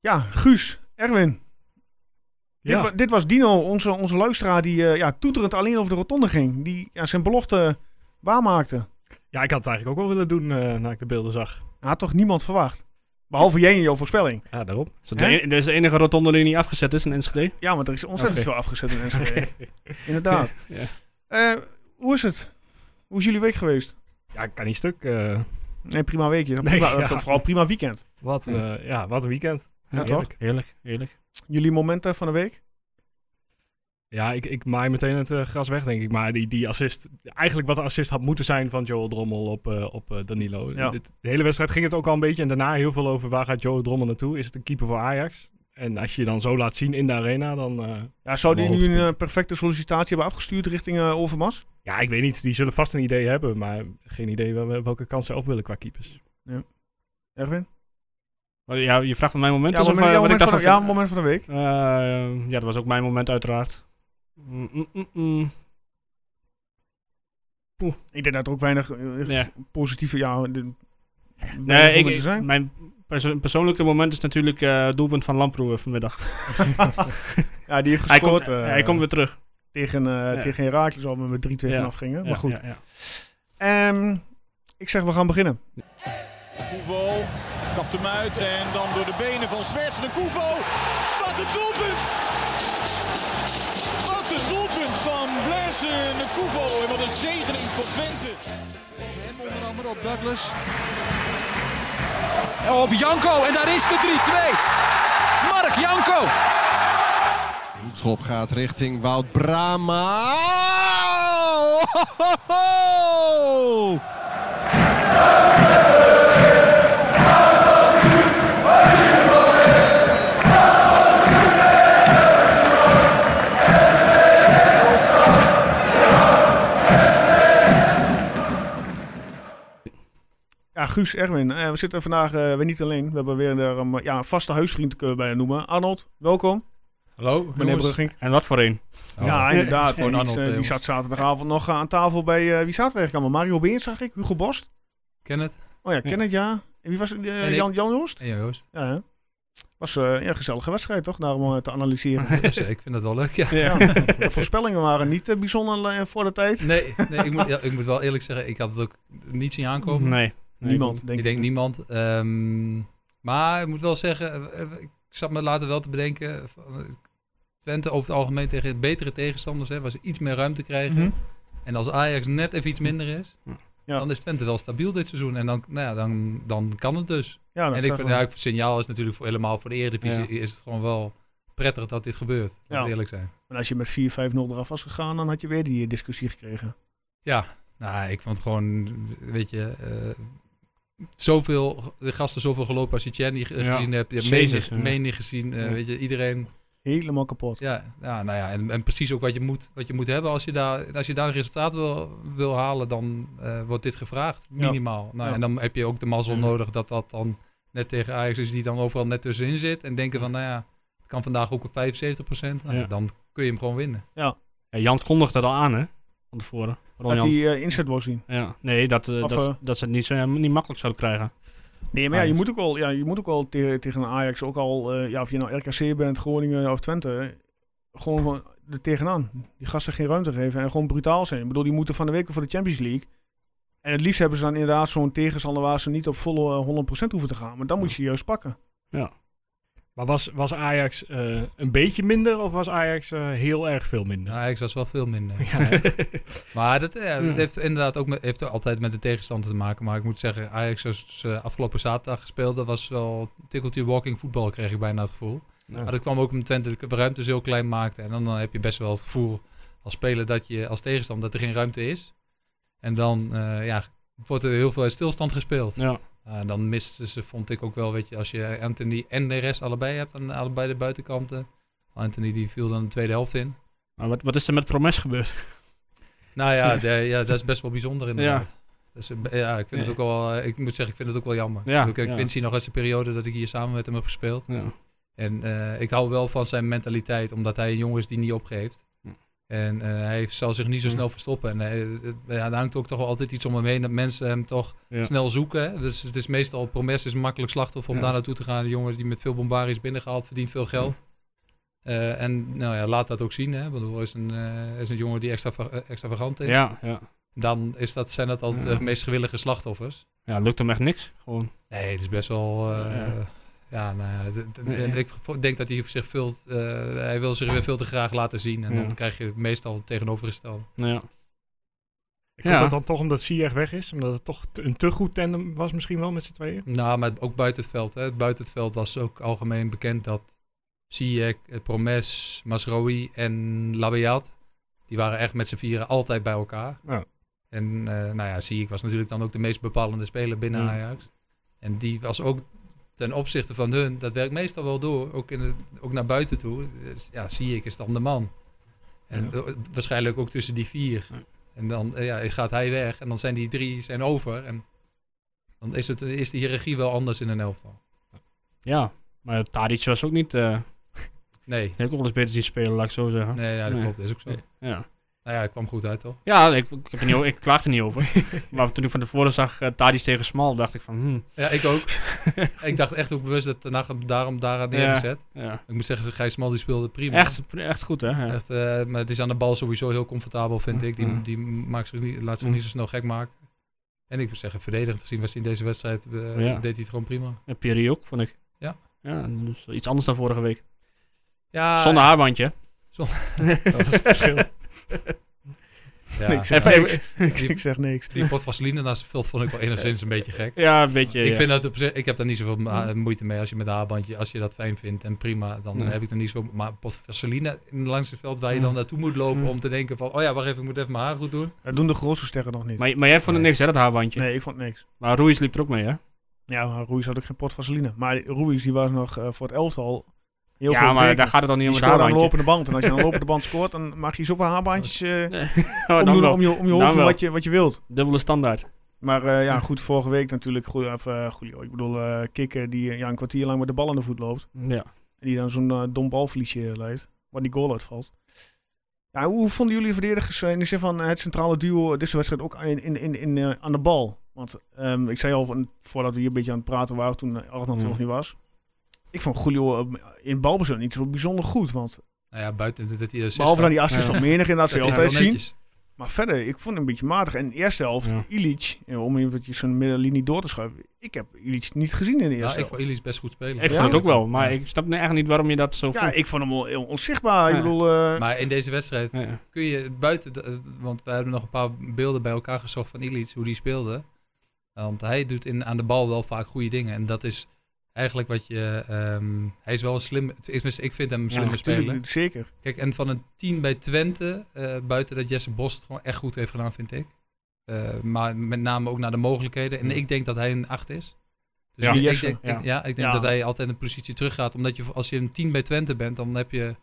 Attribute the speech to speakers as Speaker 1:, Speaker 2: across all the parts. Speaker 1: Ja, Guus, Erwin.
Speaker 2: Ja.
Speaker 1: Dit, wa- dit was Dino, onze, onze luisteraar, die eh, ja, toeterend alleen over de rotonde ging. Die ja, zijn belofte waarmaakte.
Speaker 2: ja, ik had het eigenlijk ook wel willen doen eh nadat ik de beelden zag.
Speaker 1: Had toch niemand verwacht? Behalve jij en jouw voorspelling.
Speaker 2: Ja, daarom.
Speaker 3: Is dat de, en- dat is de enige rotonde die niet afgezet is in Enschede?
Speaker 1: Ja, want er is ontzettend
Speaker 2: Oké.
Speaker 1: veel afgezet in Enschede. Inderdaad.
Speaker 3: Ja.
Speaker 1: Eh, hoe is het? Hoe is jullie week geweest?
Speaker 2: Ja, ik kan niet stuk. eh,
Speaker 1: Nee, prima weekje.
Speaker 2: Nee,
Speaker 1: Prima,
Speaker 2: ja.
Speaker 1: eh, Vooral prima weekend.
Speaker 2: wat, eh,
Speaker 3: Ja.
Speaker 2: ja. wat een weekend.
Speaker 1: Ja, toch?
Speaker 2: heerlijk.
Speaker 3: Heerlijk, heerlijk.
Speaker 1: Jullie momenten van de week?
Speaker 2: Ja, ik, ik maai meteen het eh, gras weg, denk ik. Maar die, die assist, eigenlijk wat de assist had moeten zijn van Joel Drommel op, eh, op eh, Danilo.
Speaker 1: Ja.
Speaker 2: Dit- de hele wedstrijd ging het ook al een beetje. En daarna heel veel over waar gaat Joel Drommel naartoe? Is het een keeper voor Ajax? En als je je dan zo laat zien in de arena, dan... eh,
Speaker 1: Ja, zou die nu
Speaker 2: Mijn
Speaker 1: een eh, perfecte sollicitatie hebben afgestuurd richting eh, Overmars?
Speaker 2: ja, ik weet niet. Die zullen vast een idee hebben, maar geen idee wel- welke kans zij op willen qua keepers.
Speaker 1: Erwin?
Speaker 3: Maar Ja, je vraagt wat mijn moment
Speaker 1: Ja,
Speaker 3: is of
Speaker 1: moment,
Speaker 3: eh,
Speaker 1: ja,
Speaker 3: wat ik
Speaker 1: moment
Speaker 3: dacht
Speaker 1: van,
Speaker 3: van...
Speaker 1: de- ja, moment van de week.
Speaker 3: Eh, ja, dat was ook mijn moment uiteraard. Mm, mm, mm, mm.
Speaker 1: Ik denk dat er ook weinig eh, echt
Speaker 3: Ja.
Speaker 1: positieve... Ja, de, weinig
Speaker 3: Nee, ik,
Speaker 1: momenten
Speaker 3: ik-
Speaker 1: zijn.
Speaker 3: mijn perso- persoonlijke moment is natuurlijk eh, het doelpunt van Lamproe vanmiddag.
Speaker 1: ja, die heeft
Speaker 3: Hij komt,
Speaker 1: gescoord eh,
Speaker 3: hij komt weer terug.
Speaker 1: tegen, eh tegen Herakles al met 3-2
Speaker 3: Ja.
Speaker 1: vanaf gingen.
Speaker 3: Ja,
Speaker 1: Maar goed.
Speaker 3: ja, ja.
Speaker 1: Ehm, ik zeg, we gaan beginnen.
Speaker 4: Koevo kapt hem uit en dan door de benen van Zwerts de Koevo. Wat een doelpunt! Wat een doelpunt van Blaise de Koevo en wat een zegening voor Twente.
Speaker 5: Hem onder andere op Douglas. Op Janko en daar is de 3-2. Mark Janko.
Speaker 6: Hoekschop gaat richting Wout Brama. Oh,
Speaker 1: Ja, Guus, Erwin, eh, we zitten vandaag eh, weer niet alleen. We hebben weer daar een, eh, ja, een vaste huisvriend, kunnen we bijna noemen. Arnold, welkom.
Speaker 7: Hallo,
Speaker 1: Meneer Brugging.
Speaker 3: En wat voor een.
Speaker 7: Oh.
Speaker 1: Ja, inderdaad.
Speaker 7: Gewoon
Speaker 1: want die,
Speaker 7: Arnold,
Speaker 1: eh,
Speaker 7: eh,
Speaker 1: die
Speaker 7: jongens.
Speaker 1: zat zaterdagavond nog eh, aan tafel bij... eh, wie zaten we eigenlijk allemaal? Mario Beens, zag ik. Hugo Borst.
Speaker 7: Ken het?
Speaker 1: Oh ja, Kenneth, ja. En wie was het? Eh,
Speaker 7: En ik.
Speaker 1: Jan, Jan Joost?
Speaker 7: En jij, Joost?
Speaker 1: Ja, hè? Was eh, ja, een gezellige wedstrijd, toch? Daarom om eh, te analyseren.
Speaker 7: Dus, eh, ik vind dat wel leuk, ja.
Speaker 1: Ja. De voorspellingen waren niet eh, bijzonder eh, voor de tijd.
Speaker 7: Nee, nee ik, moet, ja, ik moet wel eerlijk zeggen, ik had het ook niet zien aankomen.
Speaker 3: Nee. Nee,
Speaker 1: Niemand, denk
Speaker 7: ik
Speaker 1: ik.
Speaker 7: denk niemand. Ehm, maar ik moet wel zeggen, eh, eh, ik zat me later wel te bedenken. van, eh, Twente over het algemeen tegen betere tegenstanders, hè, waar ze iets meer ruimte krijgen.
Speaker 1: Mhm.
Speaker 7: En als Ajax net even iets minder is,
Speaker 1: Ja.
Speaker 7: dan is Twente wel stabiel dit seizoen. En dan, nou ja, dan, dan kan het dus.
Speaker 1: Ja, dat
Speaker 7: en ik
Speaker 1: zag
Speaker 7: vind,
Speaker 1: wel.
Speaker 7: ja, ik vind signaal is natuurlijk voor, helemaal voor de Eredivisie is het gewoon wel prettig dat dit gebeurt. Laten
Speaker 1: Ja.
Speaker 7: we eerlijk zijn.
Speaker 1: En als je met 4-5-0 eraf was gegaan, dan had je weer die eh, discussie gekregen.
Speaker 7: Nou, ik vond gewoon, weet je, eh, zoveel de gasten zoveel gelopen als je Tjerni ge-
Speaker 3: Ja.
Speaker 7: gezien hebt. Je hebt
Speaker 3: Jezus,
Speaker 7: menig,
Speaker 3: ja.
Speaker 7: menig gezien, eh,
Speaker 3: Ja.
Speaker 7: weet je, iedereen.
Speaker 1: Helemaal kapot.
Speaker 7: Ja, ja, nou ja, en, en precies ook wat je moet, wat je moet hebben als je daar, als je daar een resultaat wil, wil halen, dan eh, wordt dit gevraagd, minimaal. Nou,
Speaker 1: Ja.
Speaker 7: En dan heb je ook de mazzel
Speaker 3: Ja.
Speaker 7: nodig dat dat dan net tegen Ajax is, die dan overal net tussenin zit. En denken van, nou ja, het kan vandaag ook op 75%. Nou,
Speaker 3: Ja.
Speaker 7: Dan kun je hem gewoon winnen.
Speaker 3: Ja, Jan kondigt dat al aan, hè? Van tevoren. Ron
Speaker 1: Dat
Speaker 3: Jan.
Speaker 1: hij eh, inzet wil zien.
Speaker 3: Ja. Nee, dat, eh,
Speaker 1: Of,
Speaker 3: dat,
Speaker 1: eh,
Speaker 3: dat ze het niet, zo, niet makkelijk zouden krijgen.
Speaker 1: Nee, maar ja, je
Speaker 3: Ajax.
Speaker 1: moet ook wel, ja, je moet ook wel tegen, tegen een Ajax, ook al, eh, ja, of je nou RKC bent, Groningen of Twente, gewoon van er tegenaan. Die gasten geen ruimte geven en gewoon brutaal zijn. Ik bedoel, die moeten van de week voor de Champions League. En het liefst hebben ze dan inderdaad zo'n tegenstander waar ze niet op volle eh, 100% hoeven te gaan. Maar dan moet je juist pakken.
Speaker 2: Maar was, was Ajax eh, een beetje minder of was Ajax eh, heel erg veel minder?
Speaker 7: Nou, Ajax was wel veel minder.
Speaker 2: Ja, hè?
Speaker 7: Maar dat, eh, dat
Speaker 3: Ja.
Speaker 7: heeft inderdaad ook met, heeft altijd met de tegenstander te maken. Maar ik moet zeggen, Ajax als eh, afgelopen zaterdag gespeeld, dat was wel tikkeltje walking voetbal, kreeg ik bijna het gevoel.
Speaker 3: Ja.
Speaker 7: Maar dat kwam ook omdat Twente de ruimtes heel klein maakte. En dan, dan heb je best wel het gevoel als speler dat je als tegenstander dat er geen ruimte is. En dan eh, ja, wordt er heel veel uit stilstand gespeeld.
Speaker 3: Ja.
Speaker 7: Eh, dan misten ze, vond ik ook wel, weet je, als je Anthony en de rest allebei hebt aan allebei de buitenkanten. Anthony die viel dan de tweede helft in.
Speaker 3: Maar wat, wat is er met Promes gebeurd?
Speaker 7: Nou ja, de- ja, dat is best wel bijzonder inderdaad.
Speaker 3: Ja.
Speaker 7: Dat is, eh, ja, ik vind het ook wel, eh, ik moet zeggen, ik vind het ook wel jammer.
Speaker 3: Ja,
Speaker 7: ik ik
Speaker 3: ja.
Speaker 7: vind nog uit de periode dat ik hier samen met hem heb gespeeld.
Speaker 3: Ja.
Speaker 7: En eh, ik hou wel van zijn mentaliteit, omdat hij een jongen is die niet opgeeft.
Speaker 3: Hm.
Speaker 7: En eh, hij zal zich niet zo
Speaker 2: Hm.
Speaker 7: snel verstoppen. En eh, het- het- ja, daar hangt ook toch wel altijd iets om hem heen dat mensen hem toch
Speaker 2: Ja.
Speaker 7: snel zoeken. hè. Dus het is meestal, Promes is een makkelijk slachtoffer om
Speaker 2: Ja.
Speaker 7: daar naartoe te gaan. De jongen die met veel bombarie is binnengehaald, verdient veel geld.
Speaker 3: Hm.
Speaker 7: Eh, en nou ja, laat dat ook zien. Hè? Want hij is een, eh, is een jongen die extra, extravagant is.
Speaker 3: Ja, ja.
Speaker 7: Dan is dat, zijn dat altijd de meest gewillige slachtoffers.
Speaker 3: Ja, lukt hem echt niks. Gewoon.
Speaker 7: Nee, het is best wel. eh,
Speaker 3: Ja.
Speaker 7: ja. nou ja, d- d-
Speaker 3: Ja, ja.
Speaker 7: en ik vo- denk dat hij zich veel. t- eh, hij wil zich weer veel te graag laten zien. En
Speaker 3: Ja.
Speaker 7: dan krijg je meestal het tegenovergestelde.
Speaker 3: Nou ja.
Speaker 2: Ik
Speaker 3: Ja.
Speaker 2: hoop dat dan toch omdat Ziyech weg is. Omdat het toch te- een te goed tandem was misschien wel met z'n tweeën.
Speaker 7: Nou, maar ook buiten het veld. Hè. Buiten het veld was ook algemeen bekend dat Ziyech, eh, Promes, Masrowi en Labiat... die waren echt met z'n vieren altijd bij elkaar.
Speaker 2: Ja.
Speaker 7: En eh, nou ja, Ziyech was natuurlijk dan ook de meest bepalende speler binnen
Speaker 2: Hmm.
Speaker 7: Ajax. En die was ook ten opzichte van hun... dat werkt meestal wel door, ook, in het, ook naar buiten toe. Dus ja, Ziyech is dan de man. En eh, waarschijnlijk ook tussen die vier.
Speaker 3: Ja.
Speaker 7: En dan eh, ja, gaat hij weg en dan zijn die drie zijn over... En dan is, het, is de hiërarchie wel anders in een elftal.
Speaker 3: Ja. Maar Tadic was ook niet... eh
Speaker 7: Nee,
Speaker 3: heb ik ook wel eens beter zien spelen, laat ik zo zeggen.
Speaker 7: nee ja, dat
Speaker 3: Nee.
Speaker 7: klopt. Dat is ook zo.
Speaker 3: Ja.
Speaker 7: Nou ja, het kwam goed uit, toch?
Speaker 3: Ja, ik, ik, heb er niet, o- ik klaag er niet over. maar toen ik van tevoren zag eh, Tadic tegen Smal, dacht ik van... hmm,
Speaker 7: Ja, ik ook. ik dacht echt ook bewust dat de nacht hem daarom daar had
Speaker 3: Ja.
Speaker 7: neergezet.
Speaker 3: ja.
Speaker 7: Ik moet zeggen, Gijs Mal die speelde prima.
Speaker 3: Echt, echt goed, hè? Ja. Mm-hmm.
Speaker 7: Echt, eh, maar het is aan de bal sowieso heel comfortabel, vind ik.
Speaker 3: Ja.
Speaker 7: Die, die maakt zich niet, laat zich
Speaker 3: Ja.
Speaker 7: niet zo snel gek maken. En ik moet zeggen, verdedigend gezien was hij in deze wedstrijd, eh,
Speaker 3: Ja.
Speaker 7: deed hij het gewoon prima.
Speaker 3: En Piri ook, vond ik.
Speaker 7: Ja.
Speaker 3: Ja, dus iets anders dan vorige week.
Speaker 7: Ah, Ja,
Speaker 3: Zonder haarbandje.
Speaker 7: dat was het verschil. ja.
Speaker 1: Niks.
Speaker 3: Even, even-
Speaker 7: Die-
Speaker 1: ik zeg niks.
Speaker 7: Die pot vaseline naast de vult vond ik wel enigszins een beetje gek.
Speaker 3: ja, een beetje.
Speaker 7: ik,
Speaker 3: ja.
Speaker 7: vind dat op zich, ik heb daar niet zoveel ma- moeite mee als je met een haarbandje, als je dat fijn vindt en prima, dan
Speaker 3: Nee.
Speaker 7: heb ik er niet zo. Maar pot vaseline in langs het veld waar je dan
Speaker 3: Mm.
Speaker 7: naartoe moet lopen
Speaker 3: Mm.
Speaker 7: om te denken van, oh ja, wacht even, ik moet even mijn haar goed doen.
Speaker 1: Dat doen de grootste sterren nog niet.
Speaker 3: Maar, maar jij vond het
Speaker 7: Nee.
Speaker 3: niks, hè, dat haarbandje?
Speaker 1: Nee, ik vond niks.
Speaker 3: Maar Ruiz liep er ook mee, hè?
Speaker 1: Ja, maar Ruiz had ook geen pot vaseline. Maar Ruiz die was nog eh, voor het elftal heel veel
Speaker 3: ja, maar
Speaker 1: betekend.
Speaker 3: daar gaat het dan niet
Speaker 1: Je
Speaker 3: om het
Speaker 1: scoort aan de lopende
Speaker 3: haarbandje.
Speaker 1: band. En als je aan de lopende band scoort, dan mag je zoveel haarbandjes eh,
Speaker 3: Oh,
Speaker 1: om,
Speaker 3: dan
Speaker 1: je,
Speaker 3: wel.
Speaker 1: om, je, om je
Speaker 3: Dan
Speaker 1: hoofd doen
Speaker 3: wel.
Speaker 1: wat je, wat je wilt.
Speaker 3: Dubbele standaard.
Speaker 1: Maar eh, ja, goed, vorige week natuurlijk. Goed, of, eh, goed, ik bedoel, eh kikken die eh, ja, een kwartier lang met de bal aan de voet loopt.
Speaker 3: Ja.
Speaker 1: En die dan zo'n eh, dom balverliesje leidt. Waar die goal uitvalt. Ja, hoe vonden jullie verdedigers eh, in de zin van eh, het centrale duo deze wedstrijd ook in, in, in, in, eh, aan de bal? Want ehm, ik zei al, van, voordat we hier een beetje aan het praten waren, toen eh, Arnold er
Speaker 3: Hmm.
Speaker 1: nog niet was. Ik vond Julio eh, in balbezit niet zo bijzonder goed. Want
Speaker 7: Nou ja, buiten dat hij assist
Speaker 1: behalve dan
Speaker 7: had,
Speaker 1: die assist
Speaker 3: Ja.
Speaker 1: nog menig, inderdaad,
Speaker 7: dat
Speaker 1: zul je
Speaker 7: hij
Speaker 1: altijd
Speaker 7: wel
Speaker 1: zien.
Speaker 7: netjes.
Speaker 1: Maar verder, ik vond hem een beetje matig. En in de eerste helft,
Speaker 3: Ja.
Speaker 1: Illich, eh, om eventjes zijn middenlinie door te schuiven. Ik heb Illich niet gezien in de
Speaker 7: Nou,
Speaker 1: eerste
Speaker 7: ik
Speaker 1: helft.
Speaker 7: vond Ilis best goed spelen.
Speaker 3: Ik vond het ook wel, maar ik snap echt niet waarom je dat zo
Speaker 1: ja,
Speaker 3: vond.
Speaker 1: ik vond hem wel heel onzichtbaar.
Speaker 3: Ja.
Speaker 1: Ik bedoel, eh,
Speaker 7: Maar in deze wedstrijd
Speaker 3: Ja.
Speaker 7: kun je buiten, de- eh, want we hebben nog een paar beelden bij elkaar gezocht van Illich, hoe die speelde. Want hij doet in, aan de bal wel vaak goede dingen. En dat is eigenlijk wat je. ehm, hij is wel een slim. tenminste, Ik vind hem een
Speaker 3: Ja,
Speaker 7: slimme
Speaker 1: tuurlijk,
Speaker 7: speler.
Speaker 1: zeker.
Speaker 7: Kijk, en van een 10 bij Twente, eh, buiten dat Jesse Bos het gewoon echt goed heeft gedaan, vind ik. Eh, maar met name ook naar de mogelijkheden. En
Speaker 3: Ja.
Speaker 7: ik denk dat hij een 8 is. Dus
Speaker 3: Ja.
Speaker 7: ik, ik
Speaker 1: Jesse,
Speaker 7: denk, ik-
Speaker 3: ja.
Speaker 7: ja, ik denk
Speaker 1: Ja.
Speaker 7: dat hij altijd een positie teruggaat. Omdat je, als je een 10 bij Twente bent, dan heb je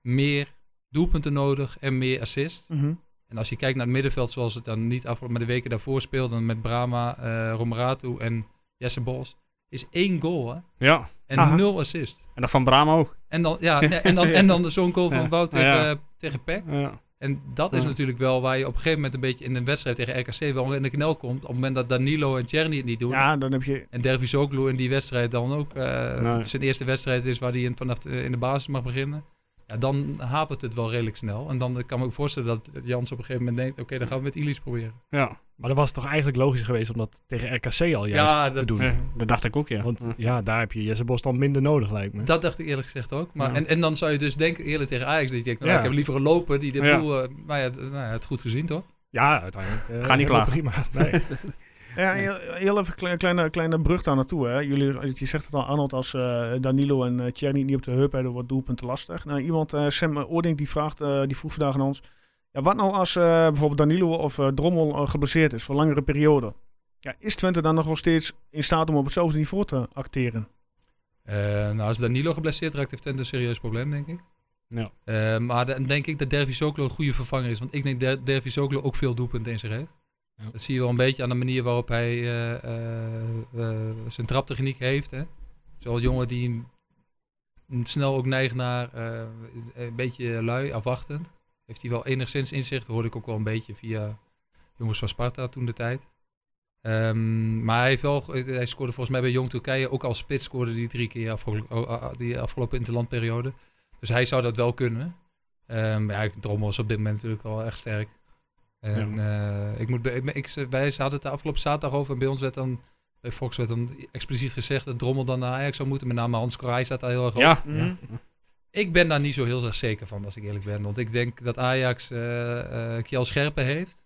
Speaker 7: meer doelpunten nodig en meer assist.
Speaker 1: Mhm.
Speaker 7: En als je kijkt naar het middenveld, zoals het dan niet afgelopen, maar de weken daarvoor speelde met Brahma, eh Romeratu en Jesse Bos, is één goal hè?
Speaker 3: ja.
Speaker 7: en
Speaker 1: Aha.
Speaker 7: nul assist.
Speaker 3: En dat van Brama ook.
Speaker 7: En dan, ja, nee, en dan, en dan zo'n goal van
Speaker 3: Ja.
Speaker 7: Wout tegen,
Speaker 3: Ja.
Speaker 7: eh, tegen Peck.
Speaker 3: Ja.
Speaker 7: En dat is
Speaker 3: Ja.
Speaker 7: natuurlijk wel waar je op een gegeven moment een beetje in een wedstrijd tegen RKC wel in de knel komt. Op het moment dat Danilo en Czerny het niet doen.
Speaker 1: Ja, dan heb je...
Speaker 7: En Dervis Zoglu in die wedstrijd dan ook eh,
Speaker 3: Nee.
Speaker 7: zijn eerste wedstrijd is waar hij in, vanaf de- in de basis mag beginnen. Ja, dan hapert het wel redelijk snel. En dan eh, kan ik me voorstellen dat Jans op een gegeven moment denkt, oké, dan gaan we met Ilis proberen.
Speaker 3: Ja.
Speaker 2: Maar dan was het toch eigenlijk logisch geweest om dat tegen RKC al juist
Speaker 7: Ja,
Speaker 2: te
Speaker 7: dat-
Speaker 2: doen.
Speaker 3: Ja, Dat dacht ik ook, ja.
Speaker 2: Want
Speaker 3: Ja.
Speaker 2: ja, daar heb je Jesse Bos dan minder nodig, lijkt me.
Speaker 7: Dat dacht ik eerlijk gezegd ook. Maar,
Speaker 3: Ja.
Speaker 7: en, en dan zou je dus denken, eerlijk tegen Ajax, dat je denkt, nou,
Speaker 2: Ja.
Speaker 7: ik heb liever een loper die de
Speaker 3: Ja.
Speaker 7: boel... eh, maar ja, het- nou ja, het goed gezien toch?
Speaker 2: Ja, uiteindelijk. eh,
Speaker 3: Ga niet
Speaker 2: helemaal
Speaker 3: klagen.
Speaker 2: Prima. Nee.
Speaker 1: Ja, heel, heel even een kleine, kleine, kleine brug daar naartoe. Hè. Jullie, je zegt het al, Arnold, als eh, Danilo en eh Tjerni niet op de heup hebben, wordt doelpunten lastig. Nou, iemand, eh, Sam Oording, die, vraagt, eh, die vroeg vandaag aan ons... Ja, wat nou als eh, bijvoorbeeld Danilo of eh, Drommel eh, geblesseerd is voor langere periode? Ja, is Twente dan nog wel steeds in staat om op hetzelfde niveau te acteren?
Speaker 7: Eh, nou, als Danilo geblesseerd raakt, heeft Twente een serieus probleem, denk ik.
Speaker 3: Ja.
Speaker 7: Eh, maar dan denk ik dat Dervis Soklo een goede vervanger is. Want ik denk dat Dervis Soklo ook veel doelpunten in zich heeft.
Speaker 2: Ja.
Speaker 7: Dat zie je wel een beetje aan de manier waarop hij eh, eh, eh, zijn traptechniek heeft. Hè? Zo'n jongen die hem snel ook neigt naar eh, een beetje lui, afwachtend. heeft hij wel enigszins inzicht. Hoorde ik ook wel een beetje via jongens van Sparta toen de tijd. Ehm, maar hij, heeft wel, hij scoorde volgens mij bij Jong Turkije ook als spits scoorde die drie keer afgelo- oh, ah, ah, die afgelopen interlandperiode. Dus hij zou dat wel kunnen. Ehm maar ja, Drommel is op dit moment natuurlijk wel echt sterk. En eh, ik moet, bij- ik, ik, wij hadden het de afgelopen zaterdag over en bij ons werd dan, bij Fox werd dan expliciet gezegd dat Drommel dan naar Ajax zou moeten. Met name Hans Korai staat daar heel erg op.
Speaker 3: Ja.
Speaker 1: Mhm.
Speaker 7: Ik ben daar niet zo heel erg zeker van, als ik eerlijk ben. Want ik denk dat Ajax eh eh Kjell Scherpen heeft.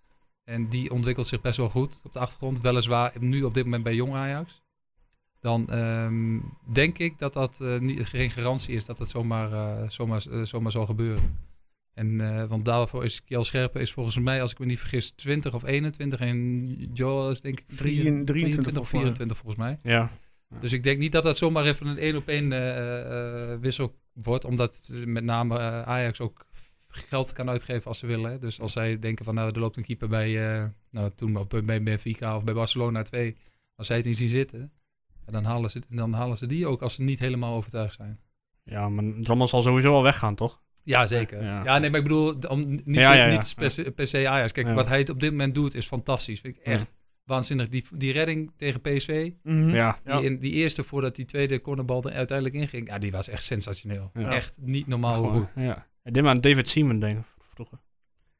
Speaker 7: En die ontwikkelt zich best wel goed op de achtergrond. Weliswaar nu op dit moment bij jong Ajax. Dan ehm, denk ik dat dat eh, niet, geen garantie is dat dat zomaar, eh, zomaar, eh, zomaar zal gebeuren. En, eh, want daarvoor is Kjell Scherpen is volgens mij, als ik me niet vergis, 20 of 21. En Joel is denk ik
Speaker 1: 23
Speaker 7: of
Speaker 1: volgens mij.
Speaker 7: 24 volgens mij.
Speaker 3: Ja.
Speaker 7: Dus ik denk niet dat dat zomaar even een één op één eh, eh, wissel wordt. Omdat met name eh, Ajax ook geld kan uitgeven als ze willen. hè. Dus als zij denken van nou, er loopt een keeper bij, eh, nou, toen, of bij- bij Benfica of bij Barcelona 2. Als zij het niet zien zitten, ja, dan, halen ze, dan halen ze die ook als ze niet helemaal overtuigd zijn.
Speaker 3: Ja, maar Drommel zal sowieso wel weggaan, toch?
Speaker 7: Ja, zeker. Ja,
Speaker 3: Ja.
Speaker 7: nee, maar ik bedoel, d- om, niet,
Speaker 3: Ja, ja, ja.
Speaker 7: niet per, se, per se Ajax. Kijk,
Speaker 3: Ja.
Speaker 7: wat hij het op dit moment doet is fantastisch. Vind ik
Speaker 3: Ja.
Speaker 7: echt waanzinnig. Die, die redding tegen PSV,
Speaker 1: Mhm.
Speaker 3: Ja.
Speaker 7: Die, in, die eerste voordat die tweede cornerbal er uiteindelijk inging. Ja, die was echt sensationeel.
Speaker 3: Ja.
Speaker 7: Echt niet normaal hoe
Speaker 3: Gewoon,
Speaker 7: goed.
Speaker 3: Ja. En dit maar aan David Seaman denken vroeger.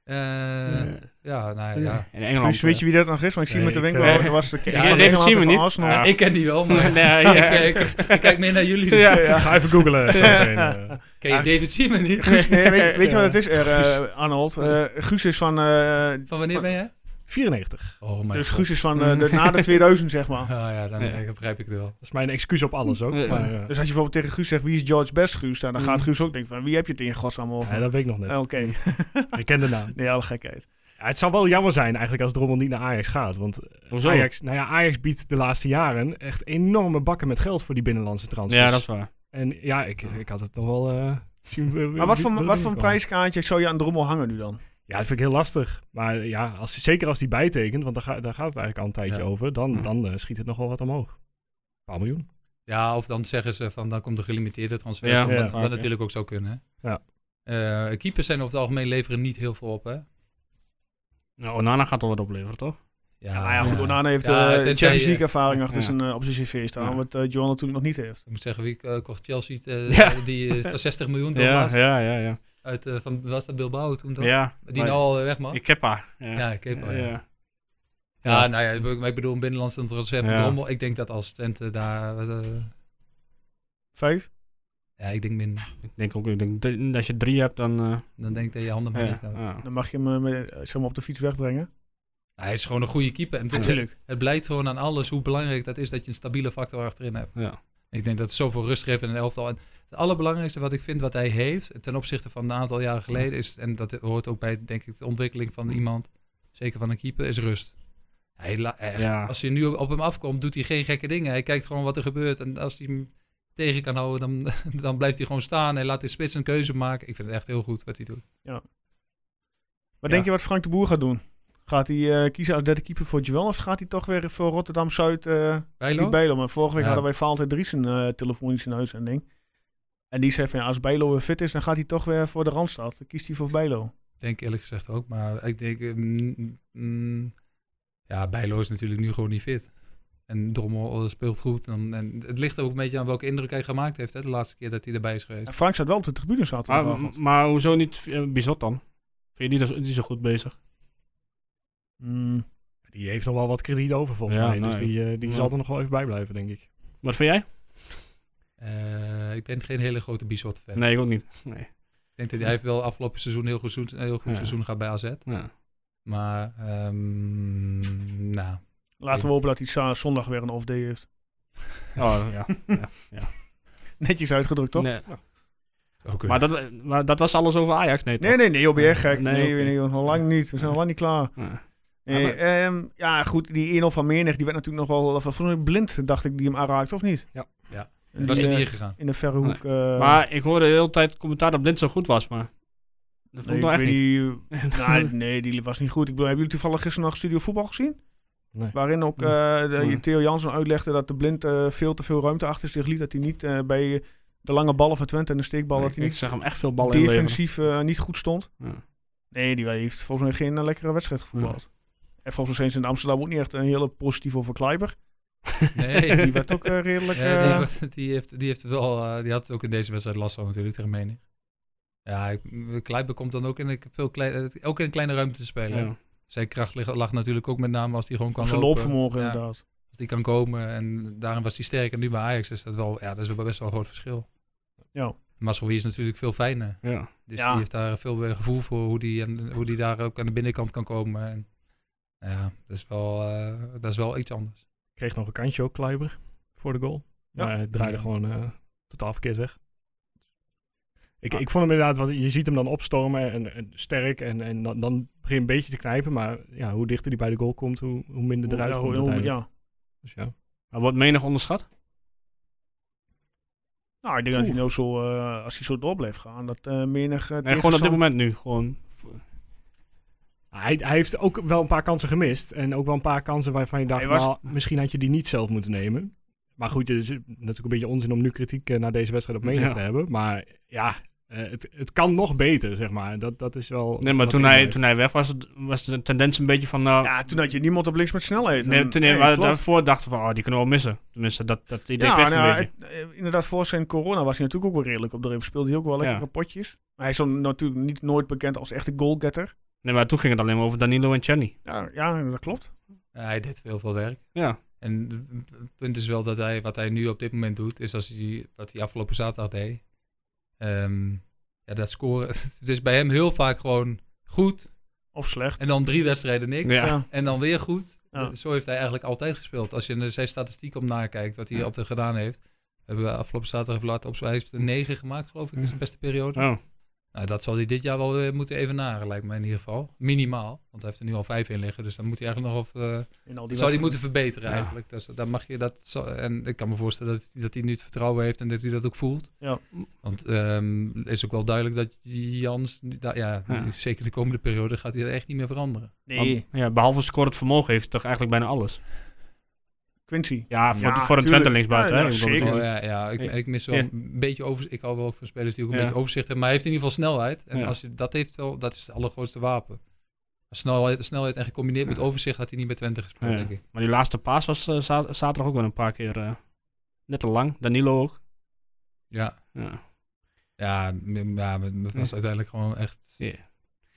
Speaker 7: Eh,
Speaker 3: Ja.
Speaker 7: ja, nou ja.
Speaker 3: In Engeland.
Speaker 1: Dus weet je wie dat nog is? Want ik zie
Speaker 2: Nee,
Speaker 1: met de
Speaker 2: ik,
Speaker 1: winkel.
Speaker 3: eh,
Speaker 1: hij was de keeper
Speaker 3: ja,
Speaker 1: van
Speaker 3: David
Speaker 1: Engeland en
Speaker 3: Seaman
Speaker 1: van
Speaker 3: niet.
Speaker 1: Arsenal.
Speaker 3: Ja.
Speaker 7: Ik ken die wel, maar
Speaker 3: Nee, ja.
Speaker 7: ik, eh, ik- ik kijk meer naar jullie.
Speaker 3: Ja.
Speaker 2: Ga even googlen. zo meteen, eh.
Speaker 7: Ken je David Simon niet?
Speaker 1: Guus, nee, weet, weet je
Speaker 3: Ja.
Speaker 1: wat het is, er, eh, Arnold? Eh, Guus is van... eh,
Speaker 7: Van wanneer ben jij?
Speaker 2: 94.
Speaker 7: Oh mijn
Speaker 1: dus
Speaker 7: god.
Speaker 1: Guus is van eh, de, na de 2000, zeg maar.
Speaker 7: Ah ja, dan eh, begrijp ik het wel.
Speaker 2: Dat is mijn excuus op alles ook.
Speaker 3: Ja.
Speaker 2: Maar, eh,
Speaker 1: Dus als je bijvoorbeeld tegen Guus zegt, wie is George Best, Guus? Nou, dan
Speaker 3: Mhm.
Speaker 1: gaat Guus ook denken van, wie heb je het in godsnaam over?
Speaker 2: nee, dat weet ik nog
Speaker 1: Eh,
Speaker 2: net.
Speaker 1: Oké,
Speaker 2: Ik ken de naam.
Speaker 1: nee, alle gekheid.
Speaker 2: Ja, het zou wel jammer zijn eigenlijk als Drommel niet naar Ajax gaat. Want
Speaker 3: Hoezo?
Speaker 2: Ajax, nou ja, Ajax biedt de laatste jaren echt enorme bakken met geld voor die binnenlandse transfers.
Speaker 3: Ja, dat is waar.
Speaker 2: En ja, ik, ik had het nog wel... eh, misschien wil-
Speaker 1: Maar wat
Speaker 2: wil-
Speaker 1: voor,
Speaker 2: wil
Speaker 1: wat voor een
Speaker 2: komen.
Speaker 1: prijskaartje zou je aan Drommel hangen nu dan?
Speaker 2: Ja, dat vind ik heel lastig. Maar eh, ja, als, zeker als die bijtekent, want daar, ga- daar gaat het eigenlijk al een tijdje
Speaker 7: Ja.
Speaker 2: over, dan,
Speaker 3: Mhm.
Speaker 2: dan eh, schiet het nog wel wat omhoog. Een paar miljoen.
Speaker 7: Ja, of dan zeggen ze van dan komt de gelimiteerde transfer.
Speaker 3: Ja,
Speaker 7: wat
Speaker 2: ja,
Speaker 7: wat
Speaker 3: vaak, ja.
Speaker 7: natuurlijk ook zou kunnen. hè.
Speaker 2: Ja.
Speaker 7: Eh, keepers zijn over het algemeen leveren niet heel veel op, hè?
Speaker 3: Nou, Onana gaat al wat opleveren, toch?
Speaker 1: Ja, maar ja, goed, Onana heeft eh
Speaker 7: Ja, tenzij
Speaker 1: Champions
Speaker 7: je-
Speaker 1: League ervaring achter
Speaker 3: Ja.
Speaker 1: zijn, eh, op zijn cv staan,
Speaker 3: Ja.
Speaker 1: wat eh Johan natuurlijk nog niet heeft.
Speaker 7: Ik moet zeggen, wie eh, kocht Chelsea eh,
Speaker 3: Ja.
Speaker 7: die eh, van 60 miljoen toch
Speaker 3: Ja,
Speaker 7: laatst?
Speaker 3: ja, ja. Ja.
Speaker 7: Uit, eh, van, was dat Bilbao toen toch?
Speaker 3: ja
Speaker 7: Die
Speaker 3: maar
Speaker 7: nou al eh, weg mag?
Speaker 3: Ik heb haar. Ja.
Speaker 7: ja, ik heb al, ja. Ja,
Speaker 3: Ja.
Speaker 7: nou ja, ik bedoel- maar ik bedoel een binnenlandse transfer van
Speaker 3: Ja.
Speaker 7: Drommel. Ik denk dat als Twente daar... eh,
Speaker 1: Vijf?
Speaker 7: ja, ik denk minder.
Speaker 3: Ik denk ook, ik denk, dat als je drie hebt, dan... eh,
Speaker 7: Dan denk ik dat je handen maar
Speaker 3: ja,
Speaker 7: niet hebt.
Speaker 3: ja.
Speaker 1: Dan mag je hem eh, met- eh, zeg maar, op de fiets wegbrengen.
Speaker 7: Hij is gewoon een goede keeper. En het,
Speaker 1: Natuurlijk.
Speaker 7: het blijkt gewoon aan alles hoe belangrijk dat is dat je een stabiele factor achterin hebt.
Speaker 3: Ja.
Speaker 7: Ik denk dat het zoveel rust geeft in een elftal. En het allerbelangrijkste wat ik vind wat hij heeft ten opzichte van een aantal jaren geleden is, en dat hoort ook bij denk ik de ontwikkeling van iemand, zeker van een keeper, is rust. Hij la- echt,
Speaker 3: Ja.
Speaker 7: Als je nu op, op hem afkomt, doet hij geen gekke dingen. Hij kijkt gewoon wat er gebeurt en als hij hem tegen kan houden, dan, dan blijft hij gewoon staan en laat de spits een keuze maken. Ik vind het echt heel goed wat hij doet.
Speaker 1: Wat
Speaker 3: Ja.
Speaker 1: denk je wat Frank de Boer gaat doen? Gaat hij eh, kiezen als derde keeper voor Joel of gaat hij toch weer voor Rotterdam-Zuid eh die
Speaker 7: Bijlo?
Speaker 1: Bijlo? Maar vorige week
Speaker 7: Ja.
Speaker 1: hadden wij Valentijn Driesen eh telefonisch in uitzending. En die zei van ja, als Bijlo weer fit is, dan gaat hij toch weer voor de Randstad. Dan kiest hij voor Bijlo.
Speaker 7: Ik denk eerlijk gezegd ook, maar ik denk... eh, mm, mm, ja, Bijlo is natuurlijk nu gewoon niet fit. En Drommel eh, speelt goed. En, en het ligt er ook een beetje aan welke indruk hij gemaakt heeft... Hè, de laatste keer dat hij erbij is geweest.
Speaker 1: En Frank zat wel op de tribune zaterdag.
Speaker 3: Maar, maar hoezo niet eh, Bizot dan? Vind je die, dat- die zo goed bezig?
Speaker 1: Hmm,
Speaker 2: Die heeft nog wel wat krediet over volgens
Speaker 3: Ja,
Speaker 2: mij.
Speaker 3: nou,
Speaker 2: dus die, eh, die
Speaker 3: ja.
Speaker 2: zal er nog wel even bij blijven, denk ik.
Speaker 3: Wat vind jij?
Speaker 7: Eh, ik ben geen hele grote Bizot fan.
Speaker 3: Nee, ik ook niet. Nee.
Speaker 7: Ik denk dat hij heeft wel afgelopen seizoen heel goed, seizoen- heel goed
Speaker 3: Ja.
Speaker 7: seizoen gehad bij AZ.
Speaker 3: Ja.
Speaker 7: Maar, ehm, nou...
Speaker 1: Laten we hopen dat hij za- zondag weer een off-day heeft.
Speaker 3: Oh, ja.
Speaker 1: Netjes uitgedrukt, toch? Nee,
Speaker 3: Nee.
Speaker 7: Ook
Speaker 3: Maar, dat, eh, maar dat was alles over Ajax, nee toch?
Speaker 1: nee, nee, joh, ben jij gek?
Speaker 3: Nee,
Speaker 1: Nee, nee,
Speaker 3: oké.
Speaker 1: joh, nog lang niet. We zijn nog lang niet klaar.
Speaker 3: Ja.
Speaker 1: Nee,
Speaker 3: Ja, maar-
Speaker 1: ehm, ja, goed, die 1-0 van Meernig, die werd natuurlijk nog wel van vroeger blind, dacht ik, die hem aanraakte, of niet?
Speaker 2: Ja.
Speaker 7: Ja.
Speaker 1: En
Speaker 7: dat
Speaker 1: die,
Speaker 7: was er
Speaker 1: eh,
Speaker 7: niet gegaan.
Speaker 1: in de verre hoek. eh,
Speaker 3: Maar ik hoorde de hele tijd commentaar dat Blind zo goed was, maar... Dat vond
Speaker 1: nee,
Speaker 3: ik
Speaker 1: ik
Speaker 3: nou echt
Speaker 1: weet
Speaker 3: niet.
Speaker 1: niet, nou, nee, die was niet goed. Ik bedoel, hebben jullie toevallig gisteren nog Studio Voetbal gezien?
Speaker 2: Nee.
Speaker 1: Waarin ook
Speaker 2: Nee.
Speaker 1: eh, de-
Speaker 3: Nee.
Speaker 1: Theo Jansen uitlegde dat de blind eh, veel te veel ruimte achter zich liet. Dat hij niet eh, bij de lange ballen van Twente en de steekbal, dat hij
Speaker 3: ik
Speaker 1: niet
Speaker 3: zag hem echt veel ballen inleveren.
Speaker 1: defensief eh, niet goed stond.
Speaker 3: Ja.
Speaker 1: Nee, die heeft volgens mij geen eh, lekkere wedstrijd gevoetbald. En volgens mij zijn ze in Amsterdam ook niet echt een hele positieve over Kleiber.
Speaker 7: Nee,
Speaker 1: Die werd ook eh, redelijk...
Speaker 7: Ja, die,
Speaker 1: eh,
Speaker 7: wordt- die heeft, die heeft het wel, eh, die had het ook in deze wedstrijd last van natuurlijk tegen Menig. Ja, ik- Kleiber komt dan ook in een, veel klein, eh, ook in een kleine ruimte te spelen.
Speaker 3: Ja.
Speaker 7: Zijn kracht lag, lag natuurlijk ook met name als die gewoon kan
Speaker 1: op zijn
Speaker 7: lopen.
Speaker 1: loopvermogen
Speaker 7: Ja.
Speaker 1: inderdaad.
Speaker 7: Als die kan komen en daarin was hij sterk. En nu bij Ajax is dat wel, ja, dat is wel best wel een groot verschil.
Speaker 1: Ja.
Speaker 7: Masrowi is natuurlijk veel fijner.
Speaker 2: Ja.
Speaker 7: Dus
Speaker 1: Ja.
Speaker 7: die heeft daar veel meer gevoel voor hoe die, en, hoe die daar ook aan de binnenkant kan komen. En, ja, dat is, wel, eh, dat is wel iets anders.
Speaker 2: Kreeg nog een kansje ook, Kleiber, voor de goal.
Speaker 1: Ja.
Speaker 2: Maar het draaide gewoon eh, totaal verkeerd weg. Ik, ik vond hem inderdaad, want je ziet hem dan opstormen en, en sterk en, en dan, dan begin je een beetje te knijpen. Maar ja, hoe dichter hij bij de goal komt, hoe, hoe minder eruit
Speaker 1: Ja,
Speaker 2: komt
Speaker 1: hoe- hoe-
Speaker 2: uiteindelijk.
Speaker 1: ja.
Speaker 2: Dus ja.
Speaker 3: Maar wordt menig onderschat?
Speaker 1: Nou, ik denk dat hij nou zo, eh, als hij zo door blijft gaan, dat eh menig... eh,
Speaker 3: Nee, gewoon op dit
Speaker 1: tegenstander-
Speaker 3: moment nu. Gewoon.
Speaker 2: Hij, hij heeft ook wel een paar kansen gemist. En ook wel een paar kansen waarvan je dacht,
Speaker 1: Hij was-
Speaker 2: nou, misschien had je die niet zelf moeten nemen. Maar goed, het is natuurlijk een beetje onzin om nu kritiek eh, naar deze wedstrijd op menig
Speaker 3: Ja.
Speaker 2: te hebben. Maar ja, eh, het, het kan nog beter, zeg maar. Dat, dat is wel...
Speaker 3: Nee, maar
Speaker 2: wat
Speaker 3: toen
Speaker 2: in
Speaker 3: hij,
Speaker 2: blijft.
Speaker 3: toen hij weg was, was de tendens een beetje van. nou,
Speaker 1: Ja, toen had je niemand op links met snelheid.
Speaker 3: nee,
Speaker 1: En-
Speaker 3: toen nee, waar-
Speaker 1: klopt.
Speaker 3: daarvoor dachten we van, oh, die kunnen we wel missen. Tenminste, dat, dat idee
Speaker 1: Ja,
Speaker 3: kreeg ik
Speaker 1: nou,
Speaker 3: een beetje.
Speaker 1: het- eh, inderdaad, voor zijn corona was hij natuurlijk ook wel redelijk op de rib. Speelde hij ook wel lekkere
Speaker 3: Ja.
Speaker 1: potjes. Maar hij is dan natuurlijk niet nooit bekend als echte goalgetter.
Speaker 3: Nee, maar toen ging het alleen maar over Danilo en Chenny.
Speaker 1: Ja, ja, dat klopt.
Speaker 7: Ja, hij deed heel veel werk.
Speaker 3: Ja.
Speaker 7: En het punt is wel dat hij, wat hij nu op dit moment doet, is als hij, wat hij afgelopen zaterdag deed. Ehm, ja, dat scoren. Het is bij hem heel vaak gewoon goed.
Speaker 1: Of slecht.
Speaker 7: En dan drie wedstrijden niks.
Speaker 3: Ja.
Speaker 1: Ja.
Speaker 7: En dan weer goed. Eh,
Speaker 1: Ja.
Speaker 7: Zo heeft hij eigenlijk altijd gespeeld. Als je naar zijn statistiek om nakijkt, wat hij altijd gedaan heeft. Hebben we afgelopen zaterdag even laten op Hij heeft een 9 gemaakt, geloof ik, in zijn beste periode.
Speaker 3: Oh.
Speaker 7: Nou, dat zal hij dit jaar wel weer moeten evenaren, lijkt mij in ieder geval. Minimaal. Want hij heeft er nu al vijf in liggen. Dus dan moet hij eigenlijk nog op. eh,
Speaker 1: In al
Speaker 7: die
Speaker 1: die
Speaker 7: zou die
Speaker 1: wedstrijden.
Speaker 7: moeten verbeteren
Speaker 3: Ja.
Speaker 7: eigenlijk. Dus dan mag je dat zo, en ik kan me voorstellen dat, dat hij nu het vertrouwen heeft en dat hij dat ook voelt.
Speaker 1: Ja.
Speaker 7: Want ehm, het is ook wel duidelijk dat Jans, da- ja,
Speaker 3: Ja.
Speaker 7: zeker de komende periode gaat hij dat echt niet meer veranderen.
Speaker 1: Nee,
Speaker 3: Want, ja, behalve scoren het vermogen heeft hij toch eigenlijk bijna alles.
Speaker 1: Quincy.
Speaker 3: Ja, voor,
Speaker 1: Ja,
Speaker 3: voor een Twente
Speaker 1: tuurlijk.
Speaker 3: linksbuiten.
Speaker 1: Ja, ja,
Speaker 3: hè. Ik bedoel,
Speaker 1: zeker.
Speaker 7: Oh, ja, ja, ik,
Speaker 3: Ja.
Speaker 7: ik mis wel
Speaker 3: Ja.
Speaker 7: een beetje overzicht. Ik hou wel van spelers die ook een
Speaker 3: Ja.
Speaker 7: beetje overzicht hebben, maar hij heeft in ieder geval snelheid. En
Speaker 3: Ja.
Speaker 7: als je, dat heeft wel, dat is het allergrootste wapen. Snelheid, snelheid en gecombineerd met
Speaker 3: Ja.
Speaker 7: overzicht had hij niet bij Twente gespeeld,
Speaker 3: Ja.
Speaker 7: denk ik.
Speaker 3: Maar die laatste paas was eh, za- zaterdag ook wel een paar keer eh, net te lang. Danilo ook.
Speaker 7: Ja,
Speaker 3: Ja.
Speaker 7: ja, m- ja maar dat was uiteindelijk gewoon echt
Speaker 3: Ja.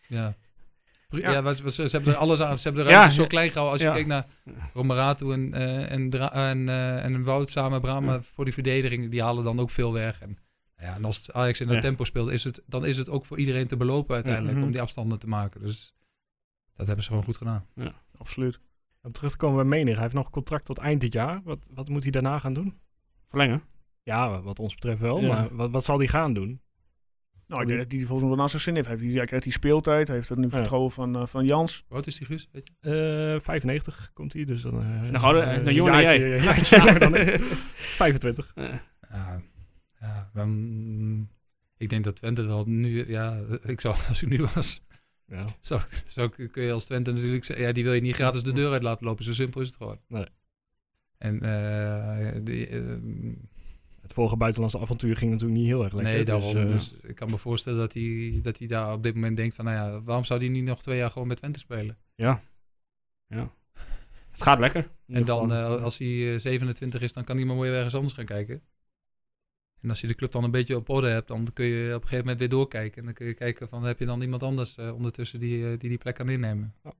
Speaker 7: Ja. Pri-
Speaker 1: Ja.
Speaker 7: Ja, wat- wat- ze, ze hebben er alles aan. Ze hebben de
Speaker 3: Ja,
Speaker 7: ruimte zo
Speaker 3: ja.
Speaker 7: klein gehouden. Als je
Speaker 3: Ja.
Speaker 7: kijkt naar Romeratu en, eh, en, Dra- en, eh, en Wout samen, Brahma
Speaker 3: Ja.
Speaker 7: voor die verdediging, die halen dan ook veel weg. En, nou ja, en als Ajax in dat
Speaker 3: Ja.
Speaker 7: tempo speelt, is het, dan is het ook voor iedereen te belopen uiteindelijk
Speaker 1: Mhm.
Speaker 7: om die afstanden te maken. Dus dat hebben ze gewoon goed gedaan.
Speaker 1: Absoluut.
Speaker 2: Om terug te komen bij menig, hij heeft nog een contract tot eind dit jaar. Wat, wat moet hij daarna gaan doen?
Speaker 3: Verlengen.
Speaker 2: Ja, wa- wat ons betreft wel,
Speaker 3: Ja.
Speaker 2: maar wat, wat zal hij gaan doen?
Speaker 1: Nou, ik denk dat hij volgens mij wel naast zijn zin heeft. Hij, heeft- hij krijgt die speeltijd. Hij heeft het nu
Speaker 2: Ja.
Speaker 1: vertrouwen van, eh, van Jans.
Speaker 7: Wat is die Guus? Weet je?
Speaker 2: Eh, 95 komt hij, dus dan... eh,
Speaker 3: Nog ouder-
Speaker 2: eh,
Speaker 3: nog jonger dan
Speaker 2: jaartje- jaartje jonger dan ik. 25.
Speaker 7: Ja, ja, dan, ik denk dat Twente wel nu... Ja, ik zou, als ik nu was,
Speaker 2: Ja.
Speaker 7: zou, ik- zou ik- kun je als Twente natuurlijk zeggen... Ja, die wil je niet gratis de deur uit laten lopen. Zo simpel is het gewoon.
Speaker 2: Nee.
Speaker 7: En eh, die, eh,
Speaker 2: Het vorige buitenlandse avontuur ging natuurlijk niet heel erg lekker.
Speaker 7: nee, daarom.
Speaker 2: Dus,
Speaker 7: Dus,
Speaker 2: eh,
Speaker 7: ik kan me voorstellen dat hij, dat hij daar op dit moment denkt van... Nou ja, waarom zou die niet nog twee jaar gewoon met Twente spelen?
Speaker 3: Het gaat lekker. In
Speaker 7: En
Speaker 3: ieder
Speaker 7: dan,
Speaker 3: geval.
Speaker 7: eh, als hij eh, 27 is, dan kan hij maar weer ergens anders gaan kijken. En als je de club dan een beetje op orde hebt, dan kun je op een gegeven moment weer doorkijken. En dan kun je kijken van, heb je dan iemand anders eh, ondertussen die, eh, die die plek kan innemen?
Speaker 1: Ja, wij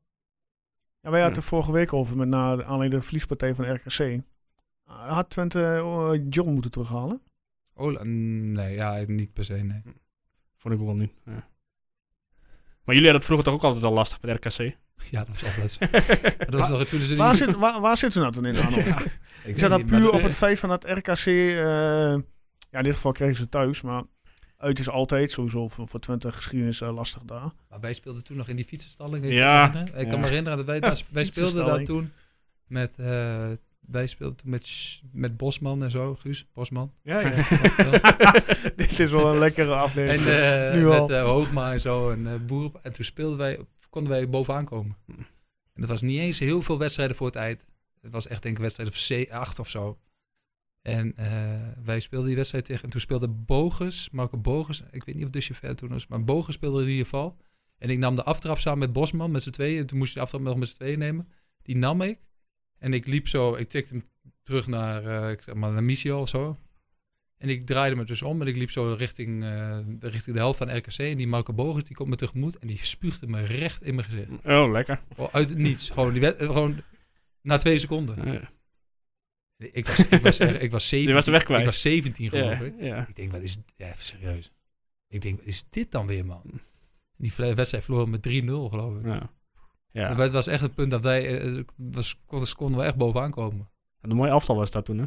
Speaker 1: hadden
Speaker 3: Ja.
Speaker 1: het er vorige week over, met na aanleiding de verliespartij van RKC. Eh, Had Twente eh, John moeten terughalen?
Speaker 7: Oh, nee, ja, niet per se, nee.
Speaker 3: Vond ik wel nu. Ja. Maar jullie hadden het vroeger toch ook altijd al lastig met RKC?
Speaker 7: Ja, dat is altijd zo. Maar Dat was nog toen ze
Speaker 1: Waar,
Speaker 7: niet-
Speaker 1: zit, waar, waar zit u nou dan in, Arno?
Speaker 7: Ik
Speaker 1: Ik zat
Speaker 7: weet
Speaker 1: dat
Speaker 7: niet, maar
Speaker 1: puur op het feit van dat RKC. eh, ja, in dit geval kregen ze thuis, maar uit is altijd sowieso voor, voor Twente geschiedenis eh, lastig daar.
Speaker 7: Maar wij speelden toen nog in die fietsenstalling. weet je
Speaker 3: Ja.
Speaker 7: me herinneren? Ik
Speaker 3: Ja.
Speaker 7: kan me herinneren dat wij, daar- wij speelden daar
Speaker 1: Fietsenstalling.
Speaker 7: toen met. eh, wij speelden toen met, Sch- met Bosman en zo, Guus Bosman.
Speaker 2: ja, ja.
Speaker 1: Dit is wel een lekkere
Speaker 7: En
Speaker 1: aflevering.
Speaker 7: eh,
Speaker 1: Nu al.
Speaker 7: met eh, Hoogma en zo en eh Boer. En toen speelden wij, konden wij bovenaan komen. En dat was niet eens heel veel wedstrijden voor het eind. Het was echt denk ik wedstrijd of C- 8 of zo. En eh, wij speelden die wedstrijd tegen. En toen speelde Bogus, Marco Bogus. Ik weet niet of Dusje ver toen was, maar Bogus speelde in ieder geval. En ik nam de aftrap samen met Bosman, met z'n tweeën. En toen moest je de aftrap nog met z'n tweeën nemen. Die nam ik. En ik liep zo, ik tikte hem terug naar, eh, ik zeg maar, naar Missio of zo. En ik draaide me dus om en ik liep zo richting, eh, richting de helft van RKC. En die Marco Bogus, die komt me tegemoet en die spuugde me recht in mijn gezicht.
Speaker 3: Oh, lekker.
Speaker 7: Gewoon Uit het niets. Gewoon, die werd, eh, gewoon na twee seconden.
Speaker 3: Ja.
Speaker 7: Ik was, ik was, echt- ik was 17.
Speaker 3: Je was de weg kwijt.
Speaker 7: Ik was 17 geloof ik.
Speaker 3: ja.
Speaker 7: Ik denk, wat is ja, even serieus. Ik denk, wat is dit dan weer, man? Die vle- wedstrijd verloren met 3-0, geloof ik.
Speaker 3: Ja. ja.
Speaker 7: Maar Het was echt een punt dat wij, eh, eh, was, kon- ze konden wel echt bovenaan komen.
Speaker 3: Een mooie aftal was dat toen, hè?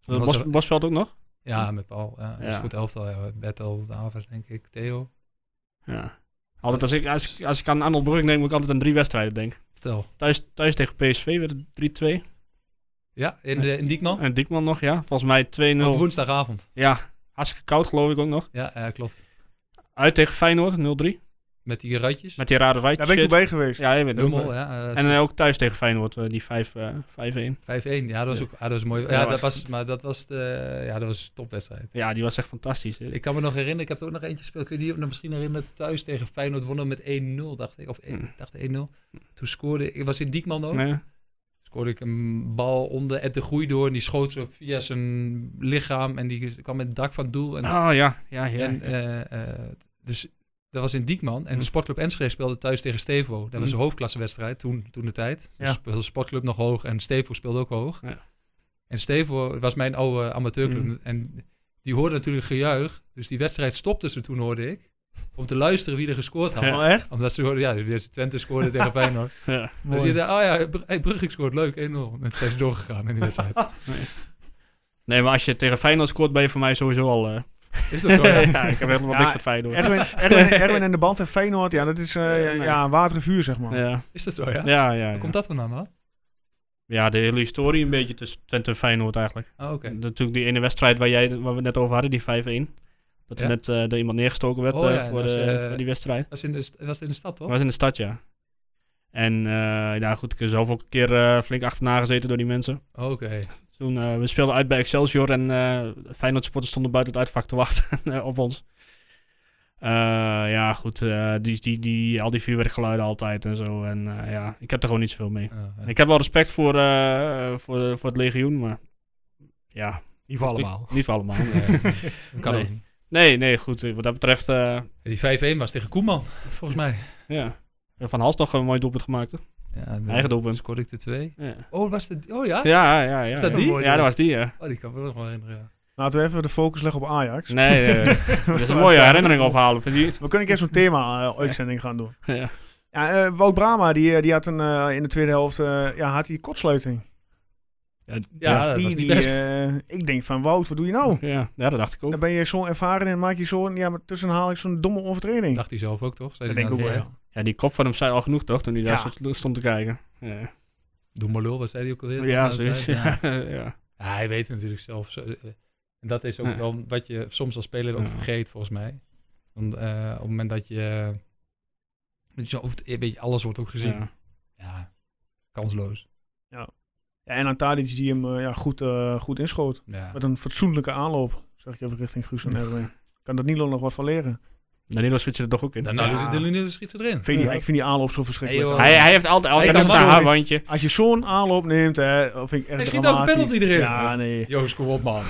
Speaker 3: Dat
Speaker 7: was
Speaker 3: Bos,
Speaker 7: er-
Speaker 3: Bosveld ook nog?
Speaker 7: Ja, met Paul. Ja, dat is
Speaker 3: Hm. Ja.
Speaker 7: een goed elftal. Ja. Bertel, Davis, denk ik. Theo,
Speaker 3: Ja. Altijd als ik, als, ik- als ik aan Arnold Brugge denk, moet ik altijd aan drie wedstrijden denken.
Speaker 7: vertel.
Speaker 3: Thuis, thuis tegen PSV werd het 3-2.
Speaker 7: Ja, in, de, in Diekman.
Speaker 3: En Diekman nog, ja. Volgens mij 2-0.
Speaker 7: Op woensdagavond.
Speaker 3: Ja, hartstikke koud geloof ik ook nog.
Speaker 7: Ja, ja, klopt.
Speaker 3: Uit tegen Feyenoord, 0-3.
Speaker 7: Met die ruitjes.
Speaker 3: Met die rare right
Speaker 1: Daar ben ik
Speaker 3: shit.
Speaker 1: toen bij geweest.
Speaker 3: Ja, je bent ook
Speaker 7: Hummel,
Speaker 3: bij.
Speaker 7: ja. eh,
Speaker 3: En eh, ook thuis tegen Feyenoord, eh, die 5, eh, 5-1.
Speaker 7: 5-1. Ja, dat was ook ah, dat was mooi.
Speaker 3: Ja,
Speaker 7: Ja, dat
Speaker 3: was-
Speaker 7: was, maar dat was, de, ja, dat was een topwedstrijd.
Speaker 3: Ja, die was echt fantastisch.
Speaker 7: Ik kan me nog herinneren, ik heb er ook nog eentje gespeeld. Kun je die ook nog misschien herinneren? Thuis tegen Feyenoord wonnen we met 1-0, dacht ik. Of één-
Speaker 3: Hm.
Speaker 7: ik dacht 1-0. Toen scoorde ik, was in Diekman ook.
Speaker 3: Nee.
Speaker 7: Scoorde ik een bal onder Ed de Groei door. En die schoot zo via zijn lichaam. En die kwam in het dak van het doel. En,
Speaker 3: Oh ja, ja, ja.
Speaker 7: en,
Speaker 3: ja.
Speaker 7: eh, eh, dus dat was in Diekman. En
Speaker 3: Hm.
Speaker 7: de sportclub Enschede speelde thuis tegen Stevo. Dat was een hoofdklassewedstrijd toen, toen de tijd. Dus
Speaker 3: Mhm. Ja.
Speaker 7: speelde de sportclub nog hoog. En Stevo speelde ook hoog.
Speaker 3: Ja.
Speaker 7: En Stevo was mijn oude amateurclub.
Speaker 3: Hm.
Speaker 7: En die hoorde natuurlijk gejuich. Dus die wedstrijd stopte ze toen, hoorde ik. Om te luisteren wie er gescoord had.
Speaker 3: Ja.
Speaker 1: Oh, echt?
Speaker 7: Omdat ze hoorden, ja, deze Twente scoorde tegen Feyenoord.
Speaker 3: Ja.
Speaker 7: Dus
Speaker 1: Mooi.
Speaker 7: je dacht, oh ja, Br- hey, Brugge scoort, leuk, 1-0. En toen zijn ze doorgegaan in die wedstrijd.
Speaker 3: Nee, maar als je tegen Feyenoord scoort, ben je voor mij sowieso al... eh,
Speaker 7: Is dat zo? Ja.
Speaker 3: ja, ik heb helemaal
Speaker 1: Ja,
Speaker 3: niks met Feyenoord.
Speaker 1: Erwin, Erwin, Erwin en de band en Feyenoord, ja, dat is eh, ja, ja, water en vuur, zeg maar.
Speaker 3: Ja,
Speaker 7: Is dat zo, ja?
Speaker 3: ja, ja. ja.
Speaker 7: Waar komt dat vandaan dan?
Speaker 3: Ja, de hele historie een beetje tussen Twente en Feyenoord eigenlijk.
Speaker 7: Oh, oké.
Speaker 3: Natuurlijk die ene wedstrijd waar, jij, waar we het net over hadden, die 5-1. Dat er
Speaker 7: Ja.
Speaker 3: net eh, door iemand neergestoken werd
Speaker 7: Oh
Speaker 3: eh,
Speaker 7: ja,
Speaker 3: voor,
Speaker 7: dat
Speaker 3: de,
Speaker 7: was, eh, oh.
Speaker 3: voor die wedstrijd.
Speaker 7: Dat was in de, st- dat was in de stad,
Speaker 3: Dat
Speaker 7: toch?
Speaker 3: was in de stad, ja. En eh ja, goed, ik heb zelf ook een keer eh, flink achterna gezeten door die mensen.
Speaker 7: Oké.
Speaker 3: Toen, eh, we speelden uit bij Excelsior en eh Feyenoord supporters stonden buiten het uitvak te wachten eh, op ons. Eh, ja, goed, eh, die, die, die, al die vuurwerkgeluiden altijd en zo. En eh, ja, ik heb er gewoon niet zoveel mee.
Speaker 7: Ja, ja.
Speaker 3: Ik heb wel respect voor, eh, voor, voor het legioen, maar ja,
Speaker 2: Niet voor allemaal.
Speaker 3: niet voor allemaal. nee.
Speaker 7: Nee, dat kan
Speaker 3: Nee.
Speaker 7: ook niet.
Speaker 3: nee, nee, goed, eh, wat dat betreft, eh,
Speaker 7: Die 5-1 was tegen Koeman, volgens mij.
Speaker 3: ja. En Van Hals nog een mooi doelpunt gemaakt, hè?
Speaker 7: Ja, de-
Speaker 3: Eigen
Speaker 7: Dan
Speaker 3: doelpunt.
Speaker 7: scoorde ik de twee.
Speaker 3: Ja,
Speaker 7: Oh, was het? Oh ja?
Speaker 3: ja, ja. ja
Speaker 7: Is dat die?
Speaker 3: Ja, dat was die, ja.
Speaker 7: Oh, die kan ik me nog wel herinneren. ja.
Speaker 1: Laten we even de focus leggen op Ajax.
Speaker 3: Nee, eh, dat is een mooie herinnering ophalen. Vind je?
Speaker 1: We kunnen een keer zo'n thema-uitzending gaan doen.
Speaker 3: Ja.
Speaker 1: Ja, eh, Wout Brama, die, eh, die had een, eh, in de tweede helft eh, ja, had die kotsluiting.
Speaker 2: Ja,
Speaker 7: Ja, Ah, dat
Speaker 1: die,
Speaker 7: was niet
Speaker 1: die,
Speaker 7: best.
Speaker 1: eh, ik denk van, Wout, wat doe je nou?
Speaker 3: Ja, ja, dat dacht ik ook.
Speaker 1: Dan ben je zo ervaren en maak je zo'n, ja, maar tussen haal ik zo'n domme overtreding.
Speaker 7: Dacht hij zelf ook, toch? Zei
Speaker 1: Dat
Speaker 7: hij nou, eh,
Speaker 1: denk ik
Speaker 7: na
Speaker 1: ook
Speaker 7: de
Speaker 1: wel.
Speaker 7: tijd.
Speaker 1: ja.
Speaker 3: Ja, die kop van hem zei al genoeg, toch? Toen hij
Speaker 1: Ja.
Speaker 3: daar zo stond te kijken. Ja,
Speaker 7: Doe maar lul, wat zei hij ook alweer?
Speaker 3: ja
Speaker 7: Na de
Speaker 3: zoiets.
Speaker 7: tijd?
Speaker 3: Ja. Ja.
Speaker 7: Ja, hij weet het natuurlijk zelf. zo- eh, En dat is ook
Speaker 3: Ja.
Speaker 7: wel wat je soms als speler ook
Speaker 3: Ja.
Speaker 7: vergeet, volgens mij. Want eh, op het moment dat je... Met je hoofd, een beetje alles wordt ook gezien. Ja,
Speaker 3: Ja.
Speaker 7: kansloos.
Speaker 1: Ja, en aan Tadic die hem eh, ja, goed, eh, goed inschoot.
Speaker 7: Ja.
Speaker 1: Met een fatsoenlijke aanloop, zeg ik even richting Guus en Erwin. Kan dat Nilo nog wat van leren?
Speaker 3: Danilo schiet je er toch ook in.
Speaker 7: Dan nou,
Speaker 1: Ja.
Speaker 7: de, de, de schiet ze erin.
Speaker 1: Ik vind die,
Speaker 7: Ja.
Speaker 1: ik vind die aanloop zo verschrikkelijk.
Speaker 7: Nee, joh.
Speaker 3: Hij, hij heeft altijd, altijd
Speaker 7: Hij
Speaker 3: hij
Speaker 7: kan
Speaker 3: een
Speaker 7: maar-
Speaker 3: haarwandje.
Speaker 1: Als je zo'n aanloop neemt, hè, dat vind ik echt
Speaker 7: Hij schiet ook een
Speaker 1: dramatisch.
Speaker 7: penalty erin.
Speaker 1: Ja, nee.
Speaker 7: Joost, kom op man.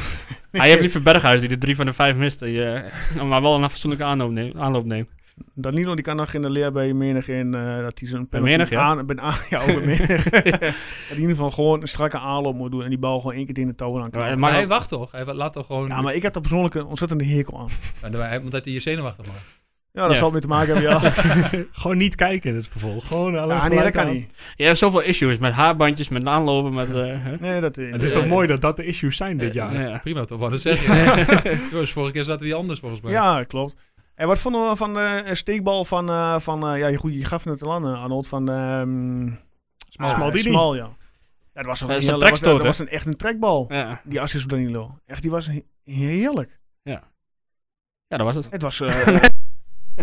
Speaker 3: Hij heeft liever Berghuis die de drie van de vijf miste. Je, maar wel een fatsoenlijke aanloop neemt. Aanloop neemt.
Speaker 1: Danilo die kan nog in de leer bij Menig in eh, dat hij zijn penalty
Speaker 3: Menig, ja.
Speaker 1: aan, bij, aan, ja, ook bij Menig. dat hij in ieder geval gewoon een strakke aanloop moet doen en die bal gewoon één keer in de touw aan kan.
Speaker 3: Maar, eh,
Speaker 1: Ja,
Speaker 7: Maar
Speaker 3: maar,
Speaker 7: hij wacht toch? Hij wa- laat toch gewoon...
Speaker 1: maar, ik heb daar persoonlijk een ontzettende hekel aan.
Speaker 7: Ja, Nou, dan- hij- omdat hij je zenuwachtig maakt.
Speaker 1: Ja, dat
Speaker 3: Ja.
Speaker 1: zal het mee te maken hebben, ja.
Speaker 2: Gewoon niet kijken in het vervolg. Gewoon alleen
Speaker 1: ja nee, dat
Speaker 2: geluid
Speaker 1: kan
Speaker 2: aan.
Speaker 1: niet.
Speaker 3: je hebt zoveel issues met haarbandjes, met aanlopen, met... eh, hè?
Speaker 1: Nee, dat,
Speaker 2: Het is toch mooi dat dat de issues zijn dit jaar.
Speaker 3: ja.
Speaker 7: Prima toch? Wat dat zeg je. Joost, vorige keer zaten we hier anders volgens mij.
Speaker 1: Ja, klopt. En wat vonden we van de steekbal van, eh, van eh, ja, goed, je gaf het al aan, eh, Arnold, van ehm ah,
Speaker 2: Smaldini.
Speaker 1: Smal, ja. Ja, dat was, toch
Speaker 3: Dat is
Speaker 1: heel-
Speaker 3: een
Speaker 1: dat was,
Speaker 3: trekstoot,
Speaker 1: eh, dat was
Speaker 3: hè?
Speaker 1: een, echt een trekbal,
Speaker 3: Ja.
Speaker 1: die assist van Danilo. Echt, die was he- heerlijk.
Speaker 3: ja, dat was het.
Speaker 1: Het was, eh, het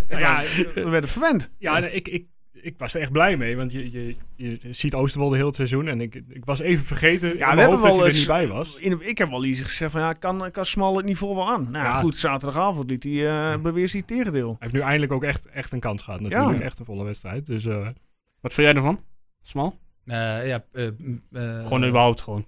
Speaker 2: Nou Ja,
Speaker 1: was- we werden verwend.
Speaker 2: ja nee, ik, ik ik was er echt blij mee, want je, je, je ziet Oosterwolde heel het seizoen en ik, ik was even vergeten in mijn hoofd dat hij er niet bij was.
Speaker 1: in- ik heb wel eens gezegd van ja, kan, kan Smal het niveau wel aan. Nou
Speaker 2: Ja.
Speaker 1: goed, zaterdagavond liet hij, eh beweert hij het tegendeel.
Speaker 2: Hij heeft nu eindelijk ook echt, echt een kans gehad natuurlijk, echt een volle wedstrijd. Dus eh,
Speaker 3: Wat vind jij ervan? Smal?
Speaker 7: Eh, ja, eh, m, eh,
Speaker 3: gewoon überhaupt gewoon.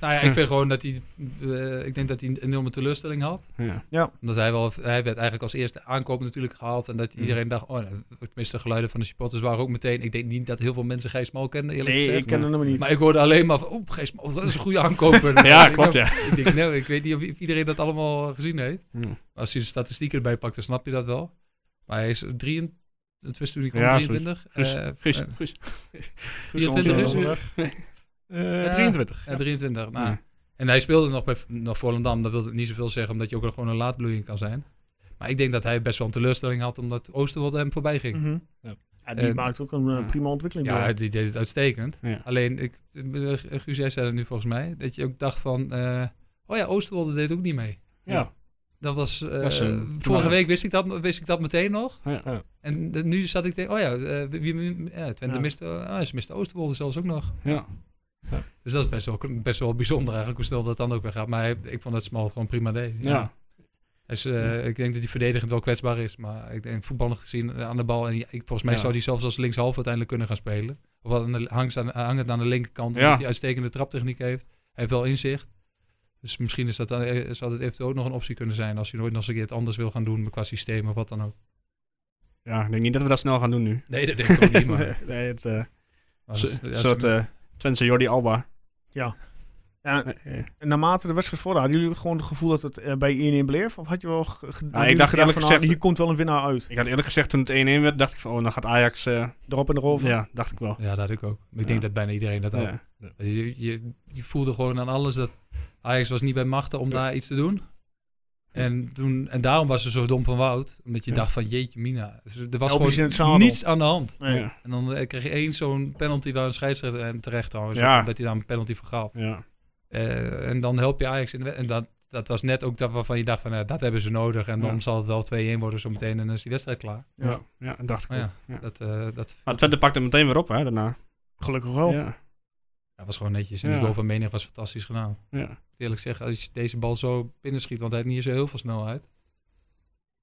Speaker 7: Nou ja, ik vind gewoon dat hij... eh, ik denk dat hij een enorme teleurstelling had.
Speaker 3: Ja.
Speaker 7: Omdat hij wel, hij werd eigenlijk als eerste aankoop natuurlijk gehaald. En dat iedereen dacht, oh, nou, tenminste de geluiden van de supporters waren ook meteen. Ik denk niet dat heel veel mensen Gijs Smal kenden, eerlijk
Speaker 1: Nee,
Speaker 7: gezegd.
Speaker 1: ik ken hem helemaal niet.
Speaker 7: Maar ik hoorde alleen maar van, oh, Gijs Smal, dat is een goede aankoper.
Speaker 3: ja,
Speaker 7: Ik
Speaker 3: klopt
Speaker 7: denk,
Speaker 3: ja.
Speaker 7: nou, Ik, denk, nou, ik weet niet of iedereen dat allemaal gezien heeft.
Speaker 3: Ja.
Speaker 7: Als je de statistieken erbij pakt, dan snap je dat wel. Maar hij is 23, het was toen hij kwam,
Speaker 3: Ja,
Speaker 7: 23.
Speaker 3: Guus,
Speaker 7: eh,
Speaker 3: Guus,
Speaker 7: eh,
Speaker 3: Guus.
Speaker 7: 24 is hij?
Speaker 2: eh,
Speaker 7: Ja.
Speaker 2: 23.
Speaker 7: Ja, 23. Nou,
Speaker 3: Ja.
Speaker 7: En hij speelde nog bij nog Volendam. Dat wil ik niet zoveel zeggen, omdat je ook gewoon een laadbloeiing kan zijn. Maar ik denk dat hij best wel een teleurstelling had, omdat Oosterwolde hem voorbij ging.
Speaker 3: Hm.
Speaker 1: Mhm.
Speaker 2: Ja.
Speaker 1: Ja, die
Speaker 7: Eh,
Speaker 1: maakt ook een eh, prima ontwikkeling
Speaker 7: Ja,
Speaker 1: door.
Speaker 7: hij- die deed het uitstekend.
Speaker 3: Ja.
Speaker 7: Alleen, ik, eh, Guus, jij zei het nu volgens mij, dat je ook dacht van... eh, oh ja, Oosterwolde deed ook niet mee.
Speaker 2: Ja.
Speaker 7: Dat was... eh,
Speaker 3: Dat is een-
Speaker 7: vorige
Speaker 3: maar-
Speaker 7: week wist ik, dat, wist ik dat meteen nog.
Speaker 3: Ja.
Speaker 2: Ja.
Speaker 7: En eh, nu zat ik denk, oh ja, eh, wie, wie- ja Twente
Speaker 1: Ja.
Speaker 7: miste... ah, ze miste Oosterwolde zelfs ook nog.
Speaker 3: Ja.
Speaker 7: Dus dat is best wel, best wel bijzonder eigenlijk, hoe snel dat dan ook weer gaat. Maar hij- ik vond dat Smal gewoon prima deed.
Speaker 3: Ja.
Speaker 7: Hij is, eh, Ik denk dat hij verdedigend wel kwetsbaar is. Maar ik denk voetballig gezien eh, aan de bal. En ik, volgens mij
Speaker 2: Ja.
Speaker 7: zou hij zelfs als linkshalf uiteindelijk kunnen gaan spelen. Of aan de, hangt aan, hangend aan de linkerkant. Omdat
Speaker 3: Ja.
Speaker 7: hij uitstekende traptechniek heeft. Hij heeft wel inzicht. Dus misschien is dat, dan- eh, zou dat eventueel ook nog een optie kunnen zijn. Als hij nooit nog eens een keer het anders wil gaan doen. Qua systeem of wat dan ook.
Speaker 3: ja, ik denk niet dat we dat snel gaan doen nu.
Speaker 7: Nee, dat denk ik ook niet. Maar,
Speaker 3: nee, het, eh,
Speaker 7: maar
Speaker 3: zo-
Speaker 7: als- ja,
Speaker 3: een
Speaker 7: als-
Speaker 3: soort eh Twentse Jordi Alba.
Speaker 1: Ja,
Speaker 3: Eh, eh.
Speaker 1: en naarmate de wedstrijd voordat, hadden jullie ook gewoon het gevoel dat het eh, bij 1-1 bleef? Of had je wel ge- ge- hadden jullie
Speaker 3: dacht eerlijk
Speaker 1: van,
Speaker 3: gezegd-
Speaker 1: ah, hier komt wel een winnaar uit.
Speaker 3: Ik had eerlijk gezegd toen het 1-1 werd, dacht ik van oh, dan gaat Ajax... eh,
Speaker 1: Erop en erover.
Speaker 3: ja, dacht ik wel.
Speaker 7: ja, dat had ik ook. Maar ik
Speaker 3: Ja.
Speaker 7: denk dat bijna iedereen dat had.
Speaker 3: Ja.
Speaker 7: Dus je, je, je voelde gewoon aan alles dat Ajax was niet bij machten om daar iets te doen. En, toen, en daarom was ze zo dom van Wout. Omdat je
Speaker 3: Ja.
Speaker 7: dacht van jeetje mina. Dus Er was
Speaker 1: Elvis in het zadel.
Speaker 7: gewoon niets aan de hand.
Speaker 1: Nee.
Speaker 3: Ja.
Speaker 7: En dan eh, kreeg je één zo'n penalty waar een scheidsrechter... En terecht trouwens,
Speaker 3: Ja.
Speaker 7: omdat hij daar een penalty voor gaf.
Speaker 3: Ja.
Speaker 7: Eh, en dan help je Ajax in de wed- En dat, dat was net ook dat waarvan je dacht van nou, dat hebben ze nodig. En dan
Speaker 3: Ja.
Speaker 7: zal het wel 2-1 worden zometeen en dan is die wedstrijd klaar.
Speaker 3: Ja. Ja. dat dacht ik
Speaker 7: Maar
Speaker 3: wel.
Speaker 7: ja,
Speaker 3: Ja.
Speaker 7: dat, eh, dat
Speaker 3: Maar Twente pakte hem meteen weer op hè, daarna.
Speaker 1: Gelukkig wel.
Speaker 3: Ja.
Speaker 7: ja, was gewoon netjes. En
Speaker 3: Ja.
Speaker 7: die goal van Menig was fantastisch gedaan.
Speaker 3: Ja.
Speaker 7: moet eerlijk zeggen, als je deze bal zo binnenschiet, want hij heeft niet zo heel veel snelheid.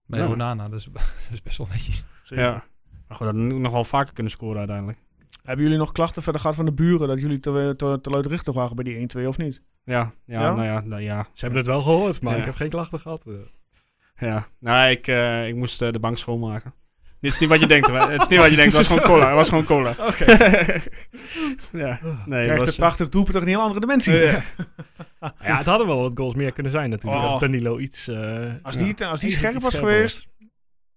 Speaker 7: Bij
Speaker 3: Ja.
Speaker 7: Onana, dat is, dat is best wel netjes.
Speaker 1: Zeker.
Speaker 3: Ja. Maar goed, dat had nog wel vaker kunnen scoren uiteindelijk.
Speaker 1: Hebben jullie nog klachten verder gehad van de buren dat jullie te, eh, te, te luidruchtig waren bij die 1-2 of niet?
Speaker 3: Ja, ja,
Speaker 1: Ja?
Speaker 3: nou ja, nou ja.
Speaker 2: Ze hebben het wel gehoord, maar
Speaker 3: Ja.
Speaker 2: ik heb geen klachten gehad. eh.
Speaker 3: Ja, nou, ik, eh, ik moest eh, de bank schoonmaken. Dit is niet wat je denkt, hoor. het is niet wat je denkt, het was gewoon cola, het was gewoon cola.
Speaker 1: Oké.
Speaker 3: ja,
Speaker 7: Oh,
Speaker 1: Je
Speaker 3: nee, het
Speaker 1: krijgt
Speaker 3: was,
Speaker 1: een prachtig doelpunt tegen een heel andere dimensie.
Speaker 2: Ja. ja, het hadden wel wat goals meer kunnen zijn natuurlijk.
Speaker 1: Oh.
Speaker 2: Als Danilo iets... eh,
Speaker 1: Als
Speaker 2: ja.
Speaker 1: die, als die
Speaker 2: Iets-
Speaker 1: scherp
Speaker 2: iets
Speaker 1: was
Speaker 2: scherper
Speaker 1: geweest,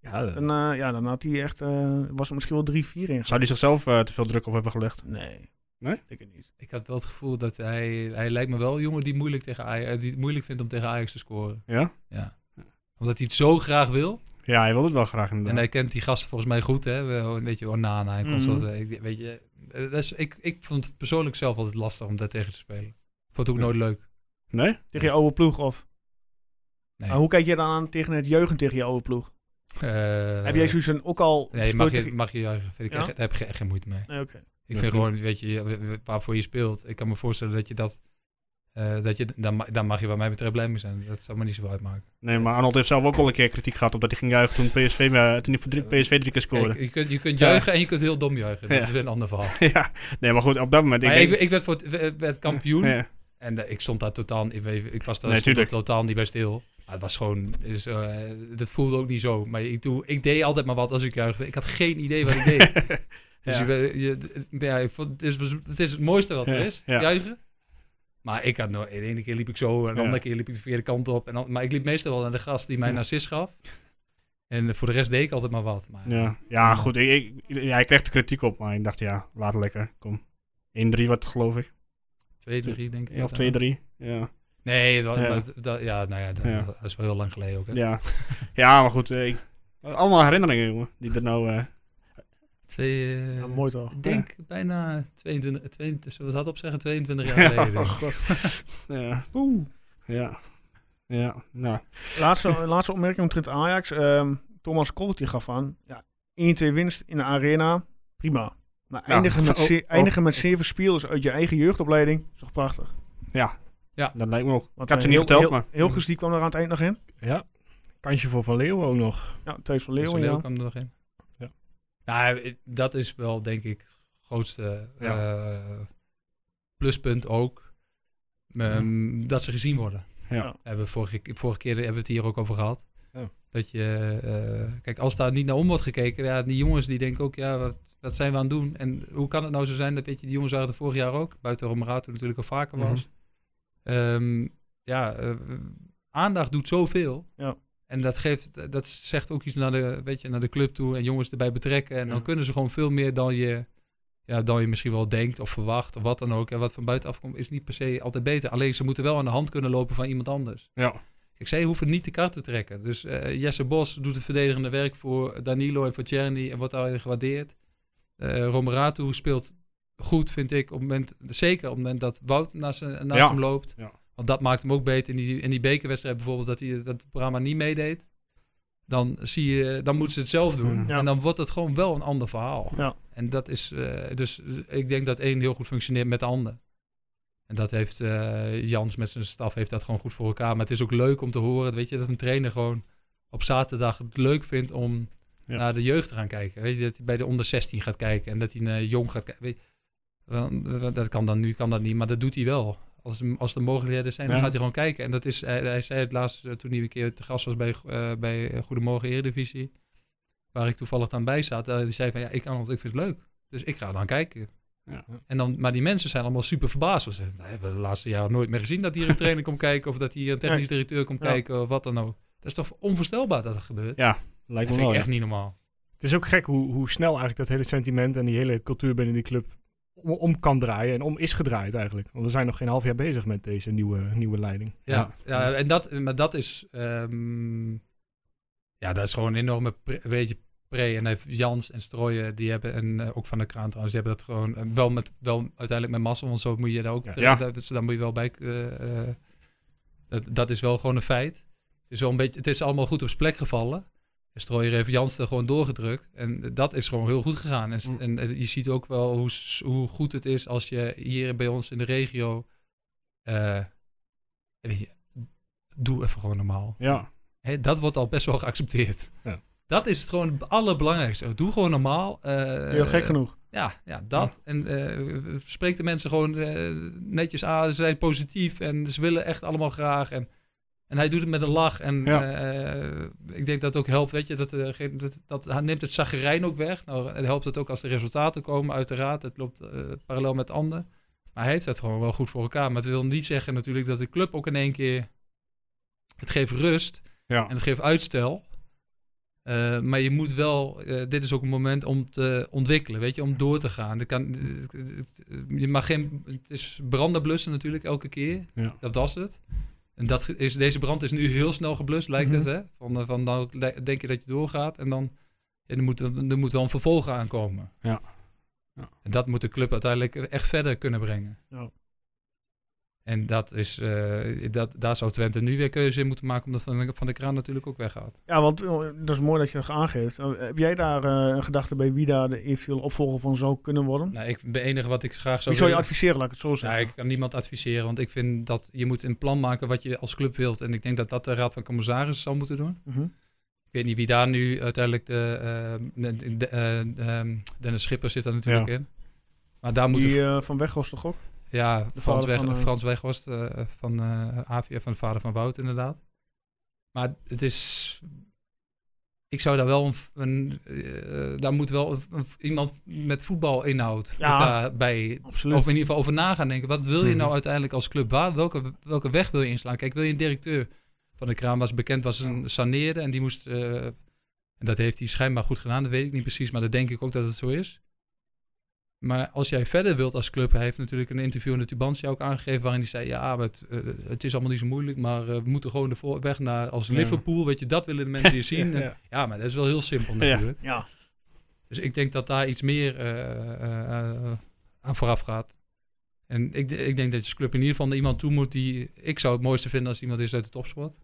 Speaker 2: Ja, dat-
Speaker 1: Dan, eh, ja, dan had hij echt, eh, was er misschien wel 3-4 in
Speaker 3: zou die zichzelf eh, te veel druk op hebben gelegd?
Speaker 1: Nee.
Speaker 3: Nee?
Speaker 1: Ik het niet.
Speaker 7: Ik had wel het gevoel dat hij, hij lijkt me wel een jongen die, moeilijk tegen Ajax, die het moeilijk vindt om tegen Ajax te scoren.
Speaker 3: Ja?
Speaker 7: Ja. Omdat hij het zo graag wil.
Speaker 3: Ja, hij wilde het wel graag inderdaad.
Speaker 7: En hij kent die gasten volgens mij goed, hè. Wel, Weet je, Onana en
Speaker 1: Mhm.
Speaker 7: Constant. Weet je, eh, dat is, ik, ik vond het persoonlijk zelf altijd lastig om daar tegen te spelen. Ik vond het ook nooit leuk.
Speaker 3: Nee?
Speaker 1: Tegen je oude ploeg of?
Speaker 7: Nee.
Speaker 1: Maar hoe kijk je dan aan tegen het jeugd tegen je oude ploeg?
Speaker 7: Eh,
Speaker 1: Heb jij zoiets van ook al...
Speaker 7: Nee,
Speaker 1: gespeeld
Speaker 7: mag je,
Speaker 1: tegen-
Speaker 7: mag je juichen. Vind ik
Speaker 1: Ja?
Speaker 7: echt, daar heb ik echt geen moeite mee.
Speaker 1: Nee, oké.
Speaker 7: Ik
Speaker 3: Ja,
Speaker 7: vind
Speaker 3: vind-
Speaker 7: gewoon, weet je, w- w- waarvoor je speelt. Ik kan me voorstellen dat je dat, eh, dat je, daar, ma- daar mag je wat mij betreft blij mee zijn. Dat zou me niet zo uitmaken.
Speaker 3: Nee, maar Arnold heeft zelf ook al een keer kritiek gehad op dat hij ging juichen toen, PSV, eh, toen hij voor drie, PSV drie keer
Speaker 7: Kijk,
Speaker 3: scoorde.
Speaker 7: je kunt, je kunt
Speaker 3: Ja.
Speaker 7: juichen en je kunt heel dom juichen. Dat
Speaker 3: Ja.
Speaker 7: is een ander verhaal.
Speaker 3: ja, nee, maar goed, op dat moment...
Speaker 7: Maar
Speaker 3: ik
Speaker 7: ik,
Speaker 3: denk-
Speaker 7: ik werd voor het, we- werd kampioen
Speaker 3: Ja.
Speaker 7: en eh, ik stond daar totaal, ik, weet- ik was daar,
Speaker 3: Nee,
Speaker 7: stond daar
Speaker 3: tuurlijk.
Speaker 7: totaal niet bij stil. Maar het was gewoon, het is, eh, dat voelde ook niet zo. Maar ik, doe, ik deed altijd maar wat als ik juichte. Ik had geen idee wat ik deed. Dus
Speaker 3: Ja.
Speaker 7: je, bent- je, het- ja, ik vond- het, is, het is het mooiste wat er
Speaker 3: Ja,
Speaker 7: is,
Speaker 3: ja.
Speaker 7: juichen. Maar ik had nooit, de ene keer liep ik zo, en de
Speaker 3: Ja.
Speaker 7: andere keer liep ik de verkeerde kant op. En dan, maar ik liep meestal wel naar de gast die mij een assist gaf. En voor de rest deed ik altijd maar wat. Maar,
Speaker 3: Ja, ja goed. Ik, ik, ja, ik kreeg de kritiek op, maar ik dacht, ja, laat lekker. Kom. 1-3 wat, geloof ik.
Speaker 7: Twee, drie, denk ik.
Speaker 3: of
Speaker 7: dat dan.
Speaker 3: 2-3. Ja.
Speaker 7: Nee, het was-
Speaker 3: Ja.
Speaker 7: maar het- dat, ja, nou ja, dat,
Speaker 3: Ja.
Speaker 7: dat is wel heel lang geleden ook. Hè.
Speaker 3: Ja. ja, maar goed. eh, Ik, allemaal herinneringen, jongen. Die er nou... eh,
Speaker 7: Twee, eh,
Speaker 1: Ja, mooi toch?
Speaker 7: ik denk bijna 22, 22, zullen we dat op zeggen? 22 jaar geleden. denk ik.
Speaker 3: Oh, ja.
Speaker 1: Oeh.
Speaker 3: Ja. Ja. Nou.
Speaker 1: Laatste, laatste opmerking omtrent Ajax. Ehm, Thomas Koltje gaf aan. Ja, 1-2 winst in de arena. Prima. Maar
Speaker 3: Ja,
Speaker 1: eindigen, met,
Speaker 3: Nou, ook-
Speaker 1: ze-
Speaker 3: ook-
Speaker 1: eindigen met zeven spelers uit je eigen jeugdopleiding is toch prachtig.
Speaker 3: Dat lijkt me ook.
Speaker 1: Want,
Speaker 3: Ik
Speaker 1: eh,
Speaker 3: had ze niet
Speaker 1: heel,
Speaker 3: geteld,
Speaker 1: heel,
Speaker 3: maar-
Speaker 1: Hilgers, die kwam er aan het eind nog in.
Speaker 2: Ja. Kansje voor Van Leeuwen ook nog.
Speaker 1: Ja, Thijs van
Speaker 7: Leeuwen,
Speaker 1: Leeuwen, ja.
Speaker 7: kwam er nog in.
Speaker 2: Ja.
Speaker 7: Nou, eh, dat is wel denk ik het grootste
Speaker 2: Ja.
Speaker 7: eh, pluspunt ook. Ehm, Dat ze gezien worden.
Speaker 3: Ja.
Speaker 7: Hebben we vorige, vorige keer hebben we het hier ook over gehad.
Speaker 2: Ja.
Speaker 7: Dat je, eh, kijk, als daar niet naar om wordt gekeken, ja, die jongens die denken ook, ja, wat, wat zijn we aan het doen? En hoe kan het nou zo zijn dat, weet je, die jongens waren er vorig jaar ook, buiten Romerato toen natuurlijk al vaker was. Ehm, ja, eh, aandacht doet zoveel.
Speaker 1: Ja.
Speaker 7: En dat, geeft, dat zegt ook iets naar de, weet je, naar de club toe en jongens erbij betrekken. En dan kunnen ze gewoon veel meer dan je, ja, dan je misschien wel denkt of verwacht of wat dan ook. En wat van buitenaf komt is niet per se altijd beter. Alleen ze moeten wel aan de hand kunnen lopen van iemand anders.
Speaker 3: Ja.
Speaker 7: Ik zei, hoeven niet de kaart te trekken. Dus eh, Jesse Bos doet het verdedigende werk voor Danilo en voor Czerny en wordt daarin gewaardeerd. Eh Romeratu speelt goed, vind ik, op het moment, zeker op het moment dat Wout naast, zijn- naast
Speaker 3: Ja.
Speaker 7: hem loopt.
Speaker 3: Ja.
Speaker 7: Want dat maakt hem ook beter. In die, in die bekerwedstrijd bijvoorbeeld, dat, hij, dat Brahma niet meedeed. Dan, zie je, dan moeten ze het zelf doen.
Speaker 1: Ja.
Speaker 7: En dan wordt het gewoon wel een ander verhaal.
Speaker 1: Ja.
Speaker 7: En dat is, eh, dus ik denk dat één heel goed functioneert met de ander. En dat heeft eh, Jans met zijn staf heeft dat gewoon goed voor elkaar. Maar het is ook leuk om te horen, weet je, dat een trainer gewoon op zaterdag het leuk vindt om
Speaker 3: Ja.
Speaker 7: naar de jeugd te gaan kijken. Weet je, dat hij bij de onder 16 gaat kijken en dat hij naar jong gaat kijken. Weet je, Want, eh, dat kan dan nu, kan dat niet, maar dat doet hij wel. Als, hem- als de mogelijkheden zijn, dan
Speaker 3: Ja.
Speaker 7: gaat hij gewoon kijken. En dat is, hij, hij zei het laatst eh, toen hij een keer te gast was bij, eh, bij Goedemorgen Eredivisie, waar ik toevallig dan bij zat. eh, die zei van, ja, ik, kan, want ik vind het leuk. Dus ik ga dan kijken.
Speaker 3: Ja.
Speaker 7: En dan, maar die mensen zijn allemaal super verbaasd. Ze zeggen, "Nou, hebben we de laatste jaren nooit meer gezien dat hier een trainer komt kijken of dat hier een technisch
Speaker 1: Nee.
Speaker 7: directeur komt
Speaker 1: Ja.
Speaker 7: kijken of wat dan ook. Dat is toch onvoorstelbaar dat het gebeurt? dat
Speaker 3: Lijkt me
Speaker 7: vind
Speaker 3: wel,
Speaker 7: ik
Speaker 3: ja.
Speaker 7: echt niet normaal.
Speaker 2: Het is ook gek hoe, hoe snel eigenlijk dat hele sentiment en die hele cultuur binnen die club om, om kan draaien. En om is gedraaid eigenlijk. Want we zijn nog geen half jaar bezig met deze nieuwe, nieuwe leiding.
Speaker 7: Ja, ja. en dat, maar dat is, ehm, ja, dat is gewoon een enorme, pre- weet je, pre en hij heeft Jans en Strooien, die hebben en eh, ook van de kraan trouwens, die hebben dat gewoon eh, wel met, wel uiteindelijk met massa, want zo moet je daar ook,
Speaker 2: Ja.
Speaker 7: te-
Speaker 3: Ja.
Speaker 7: daar- dus daar moet je wel bij. eh, eh, dat, dat is wel gewoon een feit. Het is wel een beetje, het is allemaal goed op zijn plek gevallen. En Strooier heeft Jans er gewoon doorgedrukt. En dat is gewoon heel goed gegaan. En, st- en eh, je ziet ook wel hoe, s- hoe goed het is als je hier bij ons in de regio. eh, weet je, doe even gewoon normaal.
Speaker 3: Ja.
Speaker 7: Hè, dat wordt al best wel geaccepteerd.
Speaker 2: Ja.
Speaker 7: Dat is het gewoon het allerbelangrijkste. Doe gewoon normaal. eh,
Speaker 1: Heel gek genoeg.
Speaker 7: ja, ja, dat. En eh, spreek de mensen gewoon eh, netjes aan. Ze zijn positief en ze willen echt allemaal graag. En, en hij doet het met een lach. En
Speaker 3: Ja.
Speaker 7: eh, ik denk dat het ook helpt, weet je. Dat, eh, geen- dat, dat, hij neemt het zagrijn ook weg. Nou, het helpt het ook als de resultaten komen, uiteraard. Het loopt eh, parallel met anderen. Maar hij heeft dat gewoon wel goed voor elkaar. Maar het wil niet zeggen natuurlijk dat de club ook in één keer... Het geeft rust.
Speaker 3: Ja.
Speaker 7: En het geeft uitstel. Eh, maar je moet wel, eh, dit is ook een moment om te ontwikkelen, weet je, om door te gaan. Dat kan, het- het- het- je mag geen, het is branden blussen natuurlijk elke keer.
Speaker 3: Ja.
Speaker 7: Dat was het. En dat is, deze brand is nu heel snel geblust, lijkt
Speaker 3: Mhm.
Speaker 7: het, hè? Van, eh, van nou li- denk je dat je doorgaat en dan ja, er, moet, er moet wel een vervolg aankomen.
Speaker 3: Ja. Ja.
Speaker 7: En dat moet de club uiteindelijk echt verder kunnen brengen.
Speaker 1: Ja.
Speaker 7: En dat is, eh, dat, daar zou Twente nu weer keuze in moeten maken, omdat Van de, van de Kraan natuurlijk ook weggaat.
Speaker 1: Ja, want eh, dat is mooi dat je dat aangeeft. Eh, Heb jij daar eh, een gedachte bij wie daar de eventueel opvolger van zou kunnen worden?
Speaker 7: Nou, ik ben enige wat ik graag
Speaker 1: Wie
Speaker 7: zou
Speaker 1: zou je
Speaker 7: willen-
Speaker 1: adviseren, laat ik het zo
Speaker 7: Ja,
Speaker 1: zeggen?
Speaker 7: ik kan niemand adviseren, want ik vind dat je moet een plan maken wat je als club wilt. En ik denk dat dat de Raad van Commissarissen zou moeten doen.
Speaker 1: Mhm.
Speaker 7: Ik weet niet wie daar nu uiteindelijk de, eh, de- de- eh, ehm, Dennis Schipper zit daar natuurlijk in. Maar daar moet
Speaker 1: Die
Speaker 7: de-
Speaker 1: eh, van Weghorst toch ook?
Speaker 7: ja,
Speaker 1: de
Speaker 7: Frans,
Speaker 1: vader
Speaker 7: Weg,
Speaker 1: van, eh,
Speaker 7: Frans Weghorst eh, van eh AVF, van de vader van Wout inderdaad. Maar het is... Ik zou daar wel een... v- een, eh, daar moet wel een- een- iemand met voetbalinhoud
Speaker 1: Ja.
Speaker 7: daarbij
Speaker 1: Absoluut.
Speaker 7: of in ieder geval over na gaan denken. Wat wil je
Speaker 3: Mhm.
Speaker 7: nou uiteindelijk als club? Waar, welke, welke weg wil je inslaan? Kijk, wil je een directeur van de kraan was bekend, was een saneerde en die moest. eh, en dat heeft hij schijnbaar goed gedaan, dat weet ik niet precies, maar dat denk ik ook dat het zo is. Maar als jij verder wilt als club, hij heeft natuurlijk een interview in de Tubantia ook aangegeven waarin hij zei, ja, maar het, eh, het is allemaal niet zo moeilijk, maar eh, we moeten gewoon de voor- weg naar als
Speaker 3: Ja.
Speaker 7: Liverpool, weet je, dat willen de mensen hier zien. En-
Speaker 3: Ja.
Speaker 7: ja, maar dat is wel heel simpel
Speaker 3: Ja.
Speaker 7: natuurlijk.
Speaker 1: Ja.
Speaker 7: Dus ik denk dat daar iets meer eh, eh, eh, aan vooraf gaat. En ik, ik denk dat je club in ieder geval naar iemand toe moet die... Ik zou het mooiste vinden als iemand is uit de topsport.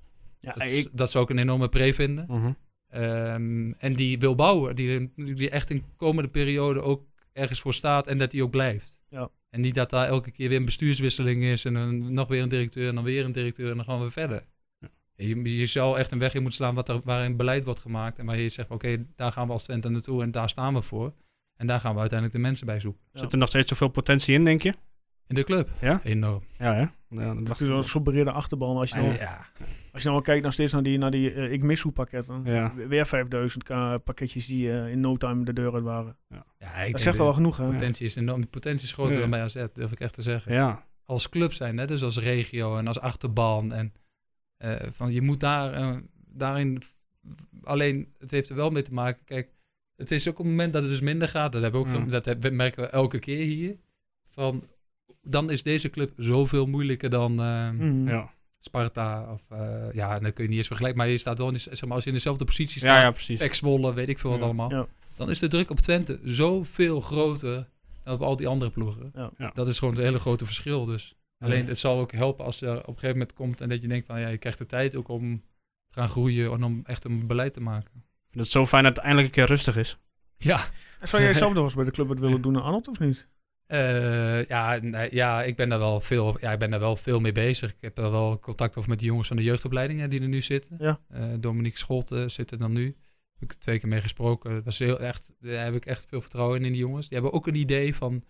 Speaker 1: Ja,
Speaker 7: Dat,
Speaker 1: ik,
Speaker 7: dat zou ik een enorme pre vinden.
Speaker 3: Mhm.
Speaker 7: Ehm, en die wil bouwen. Die, die echt in de komende periode ook ergens voor staat en dat hij ook blijft.
Speaker 1: Ja.
Speaker 7: En niet dat daar elke keer weer een bestuurswisseling is en een, nog weer een directeur en dan weer een directeur en dan gaan we verder. Je, je zou echt een weg in moeten slaan wat er, waarin beleid wordt gemaakt en waar je zegt, oké, daar gaan we als Twente naartoe en daar staan we voor. En daar gaan we uiteindelijk de mensen bij zoeken.
Speaker 1: Ja.
Speaker 3: Zit er nog steeds zoveel potentie in, denk je?
Speaker 7: In de club.
Speaker 3: Ja?
Speaker 7: Enorm.
Speaker 3: Ja, hè? Ja, dat
Speaker 1: Dat
Speaker 3: dacht
Speaker 1: is
Speaker 3: ik
Speaker 1: wel
Speaker 3: wel.
Speaker 1: een gesobereerde achterban. Als je, nou,
Speaker 7: Ja.
Speaker 1: als je nou kijkt nog steeds naar die, naar die eh, ik mis hoe pakketten.
Speaker 3: Ja.
Speaker 1: Weer 5000 ka- pakketjes die eh, in no time de deur uit waren.
Speaker 7: ja, ik
Speaker 1: Dat
Speaker 7: denk
Speaker 1: zegt al
Speaker 7: de
Speaker 1: wel genoeg, hè?
Speaker 7: Potentie is enorm. De potentie is groter
Speaker 3: Ja.
Speaker 7: dan bij AZ, durf ik echt te zeggen.
Speaker 3: Ja,
Speaker 7: als club zijn, hè? dus als regio en als achterban. En eh, van je moet daar, eh, daarin. Alleen, het heeft er wel mee te maken. Kijk, het is ook een moment dat het dus minder gaat. Dat, hebben we ook,
Speaker 3: Ja.
Speaker 7: gem- dat heb- merken we elke keer hier. Van, dan is deze club zoveel moeilijker dan eh,
Speaker 1: Mhm.
Speaker 3: ja.
Speaker 7: Sparta. Of, eh, ja, en dan kun je niet eens vergelijken. Maar je staat wel in, de- zeg maar, als je in dezelfde positie staat.
Speaker 3: ja, ja, precies.
Speaker 7: Pek Zwolle, weet ik veel wat
Speaker 3: Ja.
Speaker 7: allemaal.
Speaker 1: Ja.
Speaker 7: Dan is de druk op Twente zoveel groter dan op al die andere ploegen.
Speaker 1: Ja.
Speaker 3: Ja.
Speaker 7: Dat is gewoon het hele grote verschil. Dus alleen
Speaker 3: Ja.
Speaker 7: het zal ook helpen als je er op een gegeven moment komt en dat je denkt van ja, je krijgt de tijd ook om te gaan groeien en om echt een beleid te maken.
Speaker 3: Ik vind het zo fijn dat het eindelijk een keer rustig is.
Speaker 7: Ja,
Speaker 1: En zou jij zelf nog eens bij de club wat willen doen, Arnold, of
Speaker 7: Dus
Speaker 1: niet?
Speaker 7: eh, ja, nee, ja, ik ben daar wel veel, ja, ik ben daar wel veel mee bezig. Ik heb daar wel contact over met de jongens van de jeugdopleidingen die er nu zitten.
Speaker 1: Ja.
Speaker 7: Eh, Dominique Scholte eh, zit er dan nu. Heb ik er twee keer mee gesproken. Dat is heel, echt, daar heb ik echt veel vertrouwen in, in die jongens. Die hebben ook een idee van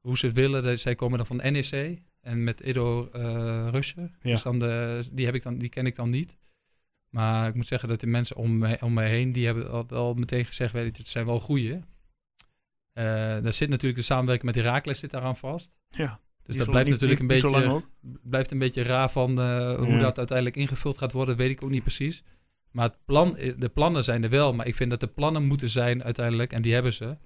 Speaker 7: hoe ze het willen. Dat- Zij komen dan van NEC en met Ido eh Rusje.
Speaker 3: Ja.
Speaker 7: Dus dan de, die, heb ik dan, die ken ik dan niet. Maar ik moet zeggen dat de mensen om me, om me heen, die hebben al wel meteen gezegd, weet je, het zijn wel goeie. Eh daar zit natuurlijk de samenwerking met Herakles zit daaraan vast.
Speaker 1: Ja.
Speaker 7: Dus dat blijft natuurlijk een beetje
Speaker 1: Zo lang ook.
Speaker 7: blijft een beetje raar van eh, hoe
Speaker 3: Ja.
Speaker 7: dat uiteindelijk ingevuld gaat worden, weet ik ook niet precies. Maar het plan, eh, de plannen zijn er wel, maar ik vind dat de plannen moeten zijn uiteindelijk, en die hebben ze,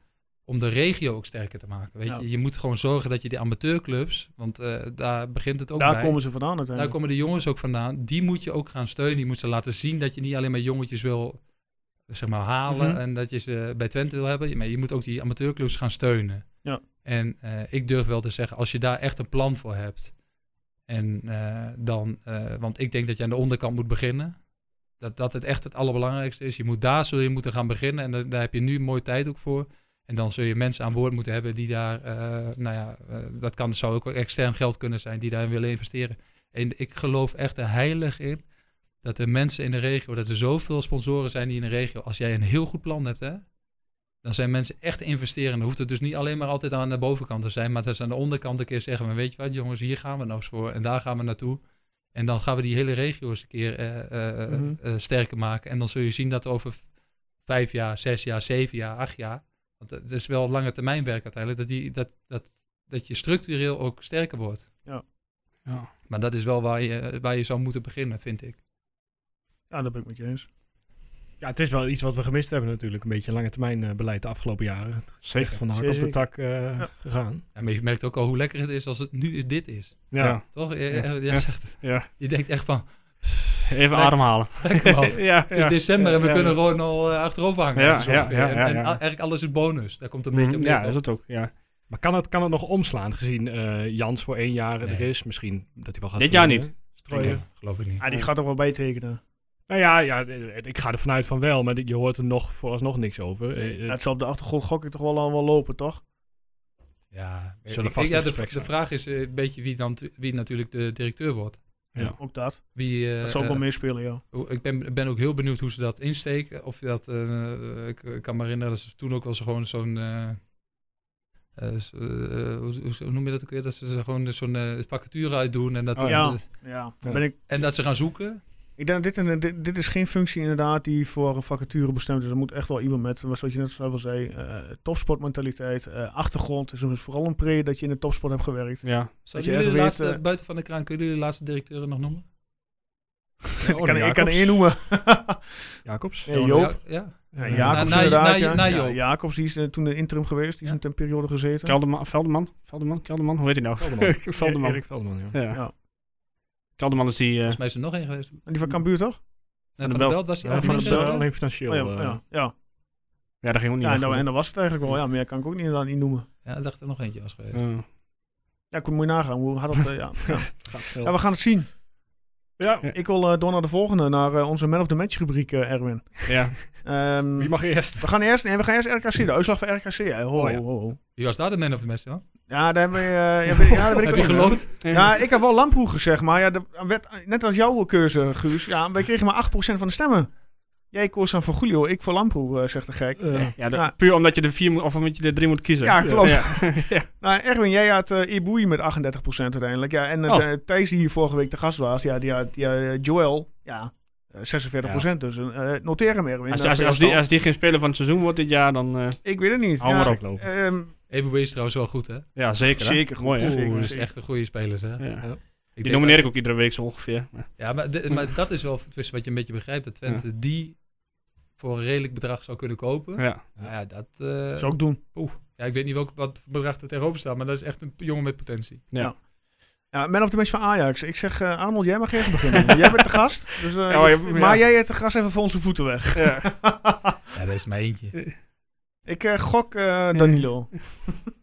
Speaker 7: om de regio ook sterker te maken. Weet
Speaker 1: Ja.
Speaker 7: je? je moet gewoon zorgen dat je die amateurclubs, want eh, daar begint het ook
Speaker 1: Daar
Speaker 7: bij.
Speaker 1: komen ze vandaan
Speaker 7: daar
Speaker 1: uiteindelijk.
Speaker 7: komen de jongens ook vandaan. Die moet je ook gaan steunen. Die moet ze laten zien dat je niet alleen maar jongetjes wil zeg maar, halen
Speaker 1: Mhm.
Speaker 7: en dat je ze bij Twente wil hebben. Maar je moet ook die amateurclubs gaan steunen.
Speaker 1: Ja.
Speaker 7: En eh, ik durf wel te zeggen, als je daar echt een plan voor hebt. En eh, dan, eh, want ik denk dat je aan de onderkant moet beginnen. Dat, dat het echt het allerbelangrijkste is. Je moet daar zul je moeten gaan beginnen. En da- daar heb je nu mooi tijd ook voor. En dan zul je mensen aan boord moeten hebben die daar, eh, nou ja, eh, dat kan, zou ook extern geld kunnen zijn, die daarin willen investeren. En ik geloof echt er heilig in dat er mensen in de regio, dat er zoveel sponsoren zijn die in de regio, als jij een heel goed plan hebt, hè, dan zijn mensen echt investeren. Dan hoeft het dus niet alleen maar altijd aan de bovenkant te zijn, maar dat ze aan de onderkant een keer zeggen, maar weet je wat jongens, hier gaan we nou eens voor en daar gaan we naartoe. En dan gaan we die hele regio eens een keer eh, eh, eh,
Speaker 1: Mhm.
Speaker 7: eh, sterker maken. En dan zul je zien dat over vijf jaar, zes jaar, zeven jaar, acht jaar, want het is wel lange termijn werk uiteindelijk, dat, die, dat, dat, dat je structureel ook sterker wordt.
Speaker 3: Ja.
Speaker 7: Maar dat is wel waar je, waar je zou moeten beginnen, vind ik.
Speaker 1: Ja, dat ben ik met je eens.
Speaker 2: Ja, het is wel iets wat we gemist hebben natuurlijk. Een beetje lange termijn eh, beleid de afgelopen jaren. Het is
Speaker 3: Zeker.
Speaker 2: echt van de hak
Speaker 1: Zeker,
Speaker 2: op de
Speaker 1: zeker.
Speaker 2: tak eh,
Speaker 1: Ja.
Speaker 2: gegaan.
Speaker 7: Ja, maar je merkt ook al hoe lekker het is als het nu dit is.
Speaker 2: Ja.
Speaker 3: Ja.
Speaker 7: Toch? Je,
Speaker 3: Ja.
Speaker 7: je- je
Speaker 3: Ja.
Speaker 7: zegt het.
Speaker 3: Ja.
Speaker 7: Je denkt echt van,
Speaker 3: Even
Speaker 7: Nee.
Speaker 3: ademhalen.
Speaker 7: lekker man. Het
Speaker 3: ja,
Speaker 7: is december en we
Speaker 3: Ja, ja,
Speaker 7: kunnen
Speaker 3: ja.
Speaker 7: gewoon al eh, achterover hangen.
Speaker 3: Ja,
Speaker 7: ergens ongeveer.
Speaker 3: ja, ja,
Speaker 7: En-
Speaker 3: ja,
Speaker 7: En,
Speaker 3: ja.
Speaker 7: a- eigenlijk alles is bonus. Daar komt een beetje
Speaker 3: Mhm.
Speaker 7: op neer,
Speaker 3: Ja,
Speaker 7: toch?
Speaker 3: is dat ook. Ja.
Speaker 2: Maar kan het, kan het nog omslaan gezien eh, Jans voor één jaar er
Speaker 7: Nee.
Speaker 2: is? Misschien dat hij wel gaat
Speaker 3: Dit jaar
Speaker 2: verlengen.
Speaker 7: Ik
Speaker 2: Strooien.
Speaker 7: denk, geloof ik niet.
Speaker 1: Ah, die gaat er wel bij tekenen.
Speaker 2: Nou ja, ja, eh, ik ga er vanuit van wel, maar dit- je hoort er nog vooralsnog niks over. Eh, eh,
Speaker 1: Ja, het zal op de achtergrond gok ik toch wel al wel lopen, toch?
Speaker 3: Ah,
Speaker 7: Ja,
Speaker 2: Zullen
Speaker 7: ik- ik-
Speaker 2: vast
Speaker 7: ja,
Speaker 2: in
Speaker 7: de,
Speaker 2: gesprek
Speaker 7: de
Speaker 2: zijn.
Speaker 7: vraag is eh, een beetje wie, dan, wie natuurlijk de directeur wordt.
Speaker 2: Ja.
Speaker 1: Ook dat.
Speaker 7: Wie, eh,
Speaker 1: Dat zal ook wel
Speaker 7: eh,
Speaker 1: meespelen, ja.
Speaker 7: Hoe- Ik ben, ben ook heel benieuwd hoe ze dat insteken. Of je dat, eh, ik, ik kan me herinneren dat ze toen ook wel zo gewoon zo'n. eh, eh, zo- eh, hoe, hoe- hoe noem je dat ook weer? Dat ze zo gewoon zo'n eh, vacature uitdoen en dat,
Speaker 3: Oh,
Speaker 1: ja. Ja,
Speaker 2: Ja.
Speaker 1: Ben ik,
Speaker 7: en dat ze gaan zoeken.
Speaker 1: ik denk dat dit, een- eh, dit, dit is geen functie inderdaad die voor een vacature bestemd is. Er moet echt wel iemand met, zoals je net zelf al zei, eh, topsportmentaliteit, eh, achtergrond. Dus het is vooral een pre dat je in de topsport hebt gewerkt.
Speaker 3: Ja.
Speaker 7: Zouden
Speaker 1: echt
Speaker 7: jullie de
Speaker 1: weet,
Speaker 7: laatste,
Speaker 1: eh,
Speaker 7: buiten van de kraan, kunnen jullie de laatste directeuren nog noemen?
Speaker 1: ik, kan,
Speaker 2: Oh, Jacobs.
Speaker 1: ik kan er één noemen.
Speaker 2: Jacobs.
Speaker 1: Nee, Joop.
Speaker 7: Ja, ja.
Speaker 1: Ja,
Speaker 2: Ja. Nou,
Speaker 1: Jacobs
Speaker 7: Na- na-
Speaker 1: inderdaad,
Speaker 7: na-
Speaker 1: ja.
Speaker 7: na
Speaker 1: Ja,
Speaker 7: Joop.
Speaker 1: Jacobs, die is eh, toen de interim geweest. Die is
Speaker 7: Ja.
Speaker 1: een periode gezeten.
Speaker 3: Kelderman, Velderman? Velderman? Kelderman? Hoe heet hij nou?
Speaker 2: Velderman.
Speaker 3: Velderman.
Speaker 2: Erik Velderman, ja.
Speaker 3: Ja.
Speaker 1: Ja.
Speaker 3: Kelderman is die... eh,
Speaker 7: Volgens mij is er nog één geweest. Nee,
Speaker 1: En die van Cambuur, toch?
Speaker 7: van
Speaker 3: de
Speaker 7: de
Speaker 3: Belt.
Speaker 7: Belt was hij
Speaker 2: Ja,
Speaker 7: ook
Speaker 2: van
Speaker 7: niet,
Speaker 2: het,
Speaker 7: eh,
Speaker 2: eh, alleen financieel.
Speaker 1: Oh, ja, ja,
Speaker 2: eh,
Speaker 1: ja.
Speaker 3: ja, daar ging ook niet
Speaker 1: ja en,
Speaker 3: echt
Speaker 1: dan,
Speaker 3: goed.
Speaker 1: en dat was het eigenlijk wel. Ja, meer kan ik ook niet, inderdaad niet noemen.
Speaker 7: Ja, ik dacht er nog eentje was geweest.
Speaker 3: Ja.
Speaker 1: Ja, ik moet je nagaan. Hoe had dat... eh, ja.
Speaker 2: gaat
Speaker 1: ja,
Speaker 2: veel.
Speaker 1: we gaan het zien.
Speaker 2: Ja,
Speaker 1: Ik wil eh, door naar de volgende, naar eh, onze Man of the Match rubriek, eh, Erwin.
Speaker 3: Ja.
Speaker 1: Ehm,
Speaker 2: wie mag eerst?
Speaker 1: we, gaan eerst, nee, we gaan eerst RKC, de uitslag Oh, van RKC. hè. Ho,
Speaker 2: Oh, ja.
Speaker 1: ho, ho.
Speaker 7: Wie was daar de man of the match dan?
Speaker 1: Ja, daar hebben we, eh, heb, je- ja, daar ben ik
Speaker 7: Heb
Speaker 1: ook
Speaker 7: je
Speaker 1: niet.
Speaker 7: geloofd?
Speaker 1: Ja, ik heb wel lamproe gezegd, maar ja, dat werd, net als jouw keuze, Guus. Ja, wij kregen maar 8% van de stemmen. Jij koos dan voor Julio, ik voor lamproe, eh, zegt de gek.
Speaker 2: Eh,
Speaker 3: Ja, de-
Speaker 1: Ja.
Speaker 3: puur omdat je de vier moet- of omdat je de drie moet kiezen.
Speaker 1: Ja, klopt.
Speaker 3: Ja. Ja.
Speaker 1: Nou, Erwin, jij had eh Ibui met 38% uiteindelijk. Ja, en eh,
Speaker 3: Oh.
Speaker 1: Thijs, die hier vorige week de gast was, ja, die had die, eh, Joel, ja, eh, 46%. Dus eh, noteer hem, Erwin.
Speaker 3: Als,
Speaker 1: Eh,
Speaker 3: als,
Speaker 1: voor
Speaker 3: als, die,
Speaker 1: jou.
Speaker 3: als die geen speler van het seizoen wordt dit jaar, dan eh,
Speaker 1: Ik weet het niet.
Speaker 3: hou
Speaker 1: Ja,
Speaker 3: maar op.
Speaker 1: ehm,
Speaker 7: Eboué is trouwens wel goed, hè?
Speaker 3: Ja, zeker. hè?
Speaker 1: Zeker goed,
Speaker 3: Mooi, hè? dus-
Speaker 1: zeker.
Speaker 7: Oeh, dat is echt een goede speler, hè?
Speaker 3: Ja.
Speaker 2: Ja.
Speaker 7: Ik
Speaker 3: Die
Speaker 7: denk dat-
Speaker 3: nomineer ik ook iedere week zo ongeveer. Ja.
Speaker 7: Ja, maar, de- maar dat is wel tussen wat je een beetje begrijpt. Dat Twente die voor een redelijk bedrag zou kunnen kopen.
Speaker 3: Ja.
Speaker 7: Nou ja, dat... eh,
Speaker 1: zou ik doen.
Speaker 7: ja, ik weet niet welk, wat bedrag er tegenover staat, maar dat is echt een jongen met potentie.
Speaker 1: Ja, man of the match van Ajax. Ik zeg, eh, Arnold, jij mag even beginnen. jij bent de gast. Dus, eh,
Speaker 3: Ja, maar je-
Speaker 1: maar
Speaker 3: ja.
Speaker 1: jij hebt de gast even voor onze voeten weg.
Speaker 7: Ja, dat is maar eentje. Het
Speaker 1: ik eh, gok eh, Danilo.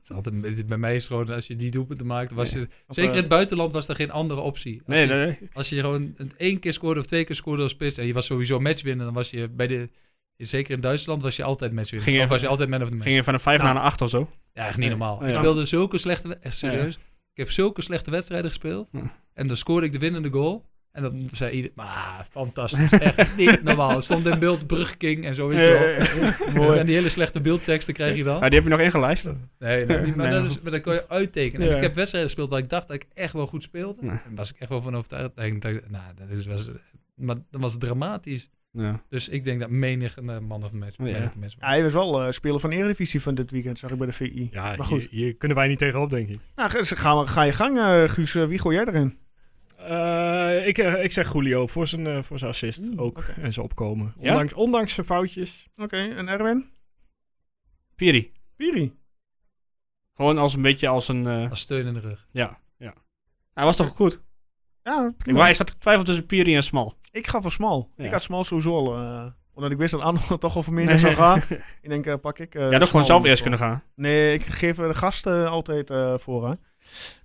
Speaker 7: is altijd, het is bij mij is het gewoon, als je die doelpunten maakt, was je...
Speaker 1: Of,
Speaker 7: Zeker in
Speaker 1: eh,
Speaker 7: het buitenland was er geen andere optie. Als,
Speaker 3: Nee,
Speaker 7: je,
Speaker 3: nee, nee.
Speaker 7: als je gewoon een één keer scoorde of twee keer scoorde als spits en je was sowieso matchwinner, dan was je bij de... Zeker in Duitsland was je altijd matchwinner.
Speaker 3: Ging je
Speaker 7: of was je altijd man of the match.
Speaker 3: Ging je van een 5
Speaker 1: Ja.
Speaker 3: naar een 8 of zo?
Speaker 7: Ja, echt niet
Speaker 3: Nee.
Speaker 7: normaal.
Speaker 3: Ja.
Speaker 7: Ik speelde zulke slechte... we- Echt serieus. Ik heb zulke slechte wedstrijden gespeeld.
Speaker 3: Ja.
Speaker 7: En dan scoorde ik de winnende goal. En dan zei iedereen... Ah, fantastisch. Echt niet normaal. Het stond in beeld Brugking en zo, weet je wel. En die hele slechte beeldteksten krijg je
Speaker 3: Ja,
Speaker 7: dan.
Speaker 3: die heb je nog ingelijst.
Speaker 7: Nee, dat niet, maar,
Speaker 3: Nee.
Speaker 7: dat is, maar dat kon je uittekenen. En
Speaker 3: Ja.
Speaker 7: ik heb wedstrijden gespeeld waar ik dacht dat ik echt wel goed speelde.
Speaker 3: Ja.
Speaker 7: En was ik echt wel van overtuigd. En ik dacht, nou, dat is, was, maar dat was dramatisch.
Speaker 3: Ja.
Speaker 7: Dus ik denk dat menig een eh, man of match,
Speaker 3: Oh, ja.
Speaker 7: man of the match was.
Speaker 1: Ja, hij was wel eh, speler van de Eredivisie van dit weekend, zag ik bij de VI.
Speaker 2: Ja,
Speaker 1: maar goed.
Speaker 2: Hier, hier kunnen wij niet tegenop, denk ik.
Speaker 1: Nou, ga- ga, maar- ga je gang, eh, Guus. Eh, wie gooi jij erin?
Speaker 2: Eh, ik, eh, ik zeg Julio voor zijn, eh, voor zijn assist ook en zijn opkomen.
Speaker 3: Ja?
Speaker 2: Ondanks, ondanks zijn foutjes.
Speaker 1: Oké, en Erwin?
Speaker 3: Piri.
Speaker 1: Piri.
Speaker 3: Gewoon als een beetje als een... eh,
Speaker 7: Als steun in de rug.
Speaker 3: ja, ja. Hij was toch goed?
Speaker 1: Ja,
Speaker 3: Ik,
Speaker 1: prima.
Speaker 3: waar, ik zat te twijfelen tussen Piri en Smal.
Speaker 1: Ik ga voor Smal.
Speaker 3: Ja.
Speaker 1: Ik had Smal sowieso al, eh, omdat ik wist dat Arnold toch al voor meer zou gaan. Ik denk, eh, pak ik... eh,
Speaker 3: ja, dat
Speaker 1: Smal
Speaker 3: gewoon zelf
Speaker 1: in
Speaker 3: eerst
Speaker 1: ieder
Speaker 3: kunnen
Speaker 1: geval.
Speaker 3: gaan.
Speaker 1: Nee, ik geef eh, de gasten altijd eh voor. Hè.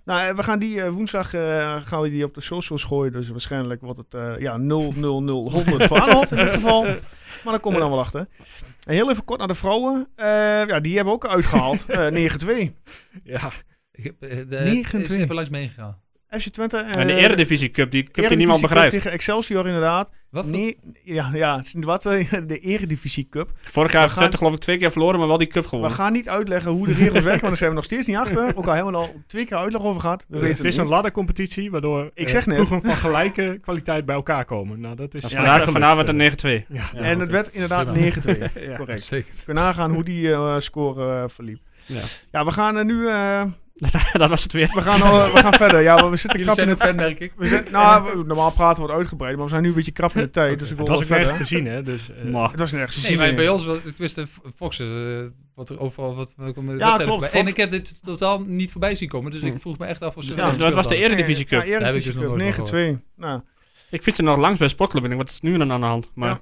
Speaker 1: Nou, eh, we gaan die eh, woensdag eh, gaan we die op de socials gooien. Dus waarschijnlijk wordt het eh ja, 0 0 0 100 voor Arnold in dit geval. Maar daar komen we dan wel achter. En heel even kort naar de vrouwen. Eh, ja, die hebben we ook uitgehaald. Eh 9-2.
Speaker 2: Ja,
Speaker 7: Ik heb, eh, de,
Speaker 1: 29.
Speaker 7: is even langs meegegaan.
Speaker 1: FC Twente. eh,
Speaker 3: en de Eredivisie Cup, die cup die
Speaker 1: Eredivisie
Speaker 3: niemand
Speaker 1: Cup
Speaker 3: begrijpt.
Speaker 1: Tegen Excelsior inderdaad.
Speaker 7: Wat voor-
Speaker 1: Nee, ja, ja, wat eh, de Eredivisie Cup.
Speaker 3: Vorig jaar heeft
Speaker 1: gaan-
Speaker 3: Twente geloof ik twee keer verloren, maar wel die cup
Speaker 1: We
Speaker 3: gewonnen.
Speaker 1: gaan niet uitleggen hoe de regels werken, want daar zijn we nog steeds niet achter. Ook al hebben we er al twee keer uitleg over gehad. We weten
Speaker 2: het is
Speaker 1: niet.
Speaker 2: een laddercompetitie waardoor
Speaker 1: Ik
Speaker 2: eh,
Speaker 1: zeg net-
Speaker 2: ploegen van gelijke kwaliteit bij elkaar komen. Nou, dat is
Speaker 3: Dat is
Speaker 1: Ja,
Speaker 3: vandaag-
Speaker 2: gelukt,
Speaker 3: vanavond
Speaker 2: eh.
Speaker 3: een 9-2.
Speaker 2: Ja.
Speaker 1: en het werd inderdaad 9-2. Correct.
Speaker 7: Zeker.
Speaker 1: We kunnen nagaan hoe die eh, score eh, verliep.
Speaker 3: Ja.
Speaker 1: Ja, we gaan eh, nu eh,
Speaker 3: dat was het weer.
Speaker 1: we gaan, al- we gaan verder. Ja, we- we zitten
Speaker 7: Jullie
Speaker 1: krap in
Speaker 7: zijn ook
Speaker 1: de
Speaker 7: fan, merk ik.
Speaker 1: we zijn- nou, we- normaal praten wordt uitgebreid, maar we zijn nu een beetje krap in de tijd. Dus ik wil
Speaker 2: Het was
Speaker 1: wel
Speaker 2: ook nergens
Speaker 1: verder.
Speaker 2: te zien, hè? Dus, eh,
Speaker 3: Maar-
Speaker 1: Het was nergens te
Speaker 7: Nee,
Speaker 1: zien.
Speaker 7: maar bij ons, was- tenminste, Fox, eh, wat er overal, wat, wat komen de
Speaker 1: Ja,
Speaker 7: wedstrijden
Speaker 1: klopt,
Speaker 7: voorbij.
Speaker 1: Fox-
Speaker 7: En ik heb dit totaal niet voorbij zien komen, dus ik vroeg me echt af of ze...
Speaker 1: Ja,
Speaker 7: nog
Speaker 1: dat
Speaker 3: Hm. dat
Speaker 7: gespeeld
Speaker 3: was de
Speaker 7: hadden.
Speaker 3: Eredivisie Cup.
Speaker 1: Ja,
Speaker 7: Daar heb ik dus
Speaker 1: Eredivisie
Speaker 7: nog
Speaker 1: Cup,
Speaker 7: nooit van
Speaker 1: 9-2. Nou,
Speaker 3: Ik fietste nog langs bij Sportclub en ik denk, wat is nu dan aan de hand? Maar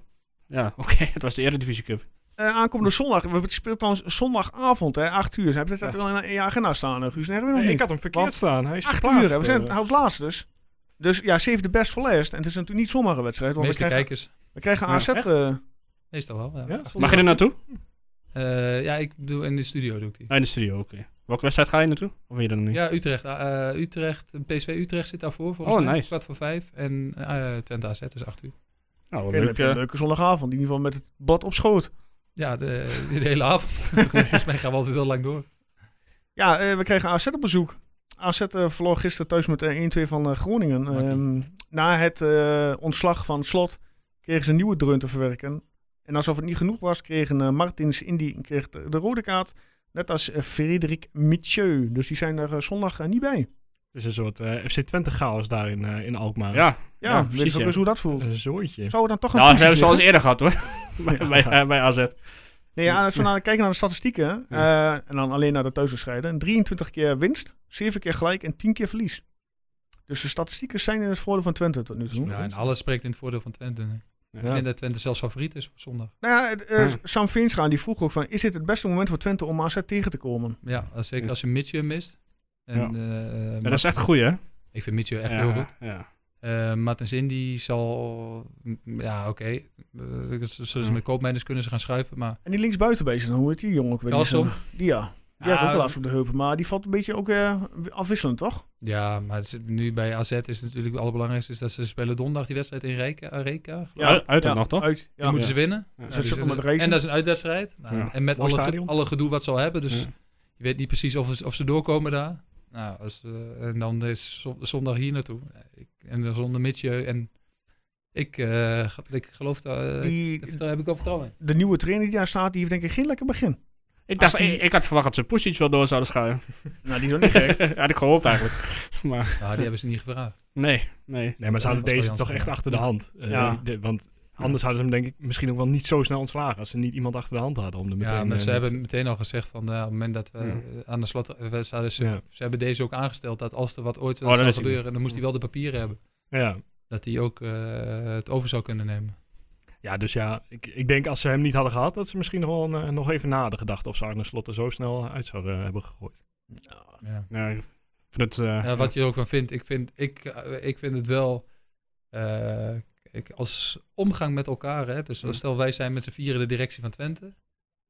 Speaker 3: ja, oké, het was de Eredivisie Cup.
Speaker 1: eh, aankomende zondag. We hebben speelt trouwens zondagavond, hè, 8 uur. Ze hebben dat
Speaker 2: Ja.
Speaker 1: wel in je agenda staan, eh, Guus. Nee, hebben we
Speaker 2: nee,
Speaker 1: nog
Speaker 2: ik
Speaker 1: niet.
Speaker 2: had hem verkeerd
Speaker 1: Want
Speaker 2: staan. Hij is
Speaker 1: 8
Speaker 2: verplaatst,
Speaker 1: uur, hè. we zijn
Speaker 2: eh.
Speaker 1: hij was laatst dus. Dus ja, save the best for last. En het is natuurlijk niet zomaar een wedstrijd,
Speaker 7: De
Speaker 1: want we
Speaker 7: meeste
Speaker 1: krijgen,
Speaker 7: kijkers,
Speaker 1: we krijgen
Speaker 3: Ja,
Speaker 1: AZ...
Speaker 2: echt?
Speaker 1: eh,
Speaker 7: meestal wel, ja.
Speaker 2: Ja,
Speaker 3: Mag je er naartoe?
Speaker 7: Eh, ja, ik doe in de studio doe ik die.
Speaker 3: Ah, in de studio, oké. Welke wedstrijd ga je naartoe? Of weet je dat nog niet?
Speaker 7: Ja, Utrecht. eh, eh, Utrecht, PSV Utrecht zit daarvoor volgens
Speaker 3: Oh,
Speaker 7: mij.
Speaker 3: nice.
Speaker 7: Kwart voor vijf. En eh Twente AZ is acht uur.
Speaker 3: Nou, wat
Speaker 1: Oké, dan
Speaker 3: leuk.
Speaker 1: heb je een
Speaker 3: eh.
Speaker 1: leuke zondagavond. In ieder geval met het bad op schoot.
Speaker 7: Ja, de, de hele avond. volgens mij gaan we altijd heel lang door.
Speaker 1: Ja, eh, we kregen AZ op bezoek. AZ eh, verloor gisteren thuis met eh, 1-2 van eh, Groningen.
Speaker 7: Makkie.
Speaker 1: Ehm, na het eh, ontslag van Slot kregen ze een nieuwe dreun te verwerken. En alsof het niet genoeg was, kregen eh, Martins Indy kreeg de, de rode kaart. Net als eh, Frederik Mithieu. Dus die zijn er eh, zondag eh, niet bij.
Speaker 2: Het is een soort eh, FC Twente chaos daar in, eh, in Alkmaar.
Speaker 3: ja,
Speaker 1: Ja,
Speaker 3: Ja,
Speaker 1: weet
Speaker 3: precies,
Speaker 1: je ook
Speaker 3: ja.
Speaker 1: eens hoe dat voelt.
Speaker 2: Een zooitje.
Speaker 1: Zou het dan toch een
Speaker 3: nou, we
Speaker 1: poesie
Speaker 3: hebben eh, ze al eens
Speaker 1: liggen?
Speaker 3: eerder gehad hoor. bij, bij, bij AZ.
Speaker 1: Nee, ja, als we naar, kijken naar de statistieken. hè, eh, en dan alleen naar de thuiswedstrijden. 23 keer winst, 7 keer gelijk en 10 keer verlies. Dus de statistieken zijn in het voordeel van Twente tot nu toe.
Speaker 7: Ja, nou. en alles spreekt in het voordeel van Twente. Ik
Speaker 2: Ja.
Speaker 7: denk dat Twente zelfs favoriet is voor zondag.
Speaker 1: Nou ja, het, eh,
Speaker 3: Ja.
Speaker 1: Sam Veenstra die vroeg ook van... is dit het beste moment voor Twente om AZ tegen te komen?
Speaker 7: Ja, als, zeker
Speaker 3: Ja.
Speaker 7: als je Mitchell mist. En,
Speaker 3: Ja.
Speaker 7: eh, eh,
Speaker 3: Ja, dat is echt goed hè?
Speaker 7: Ik vind Mitchell echt
Speaker 3: ja,
Speaker 7: heel goed.
Speaker 3: Ja.
Speaker 7: Hij Eh Martens Indy zal... m, Ja, oké. Eh, z- zullen ze met koopmijners kunnen ze gaan schuiven, maar...
Speaker 1: En die linksbuiten bezig, dan hoe heet die jongen ook weer? Die
Speaker 7: Carlson?
Speaker 1: is, eh, Die ja. Die
Speaker 7: Ja,
Speaker 1: had ook last op de heupen, maar die valt een beetje ook eh, afwisselend, toch?
Speaker 7: Ja, maar het is- nu bij AZ is het natuurlijk het allerbelangrijkste is dat ze spelen donderdag die wedstrijd in Reka. Reka geloof ik.
Speaker 3: Ja, uit dan nog, toch?
Speaker 1: Uit,
Speaker 7: Die
Speaker 1: ja.
Speaker 7: moeten ze winnen.
Speaker 3: Ja.
Speaker 7: Nou,
Speaker 1: Zit ze
Speaker 7: dus-
Speaker 1: ook nog met racen?
Speaker 7: en dat is een uitwedstrijd. Nou,
Speaker 3: Ja.
Speaker 7: En met
Speaker 2: Mooi
Speaker 7: alle, ge-
Speaker 2: stadion.
Speaker 7: alle gedoe wat ze al hebben. Dus
Speaker 3: Ja.
Speaker 7: je weet niet precies of, of ze doorkomen daar. Nou, als, eh, en dan is zo- zondag hier naartoe. Ik, en dan zonder Mitje. En ik, eh, ge- ik geloof daar. eh,
Speaker 1: Die,
Speaker 7: daar heb ik wel vertrouwen in.
Speaker 1: de nieuwe trainer die daar staat, die heeft denk ik geen lekker begin.
Speaker 3: Ik, dacht,
Speaker 1: Als die-
Speaker 3: ik, ik had verwacht dat ze Pusic wel door zouden schuiven.
Speaker 1: Nou, die is ook niet gek.
Speaker 3: had ik gehoopt eigenlijk. maar
Speaker 7: Nou, die hebben ze niet gevraagd.
Speaker 3: nee, nee.
Speaker 2: Nee, maar ze hadden
Speaker 7: Ja, dat was
Speaker 2: deze toch
Speaker 7: wel Jansen,
Speaker 2: echt
Speaker 7: ja.
Speaker 2: achter de hand. Eh,
Speaker 1: Ja.
Speaker 2: de- want anders hadden ze hem denk ik misschien ook wel niet zo snel ontslagen. Als ze niet iemand achter de hand hadden om er meteen...
Speaker 7: ja, maar
Speaker 2: eh,
Speaker 7: ze
Speaker 2: met-
Speaker 7: hebben meteen al gezegd van eh, op het moment dat we
Speaker 3: Ja.
Speaker 7: eh, aan de slot we zouden ze,
Speaker 2: Ja.
Speaker 7: ze hebben deze ook aangesteld dat als er wat ooit
Speaker 3: dan
Speaker 7: zou
Speaker 3: is hij
Speaker 7: gebeuren, dan moest hij wel de papieren hebben.
Speaker 2: Ja.
Speaker 7: Dat hij ook eh, het over zou kunnen nemen.
Speaker 2: ja, dus ja, ik, ik denk als ze hem niet hadden gehad, dat ze misschien nog, wel, eh, nog even nader gedacht of ze Arne Slot er zo snel eh, uit zouden hebben gegooid.
Speaker 7: Ja.
Speaker 3: Ja, ik vind het, eh,
Speaker 7: Ja, wat je er ook van vindt. Ik vind, ik, eh, ik vind het wel. eh, ik, als omgang met elkaar. Hè, dus
Speaker 3: Hmm.
Speaker 7: stel wij zijn met z'n vieren de directie van Twente.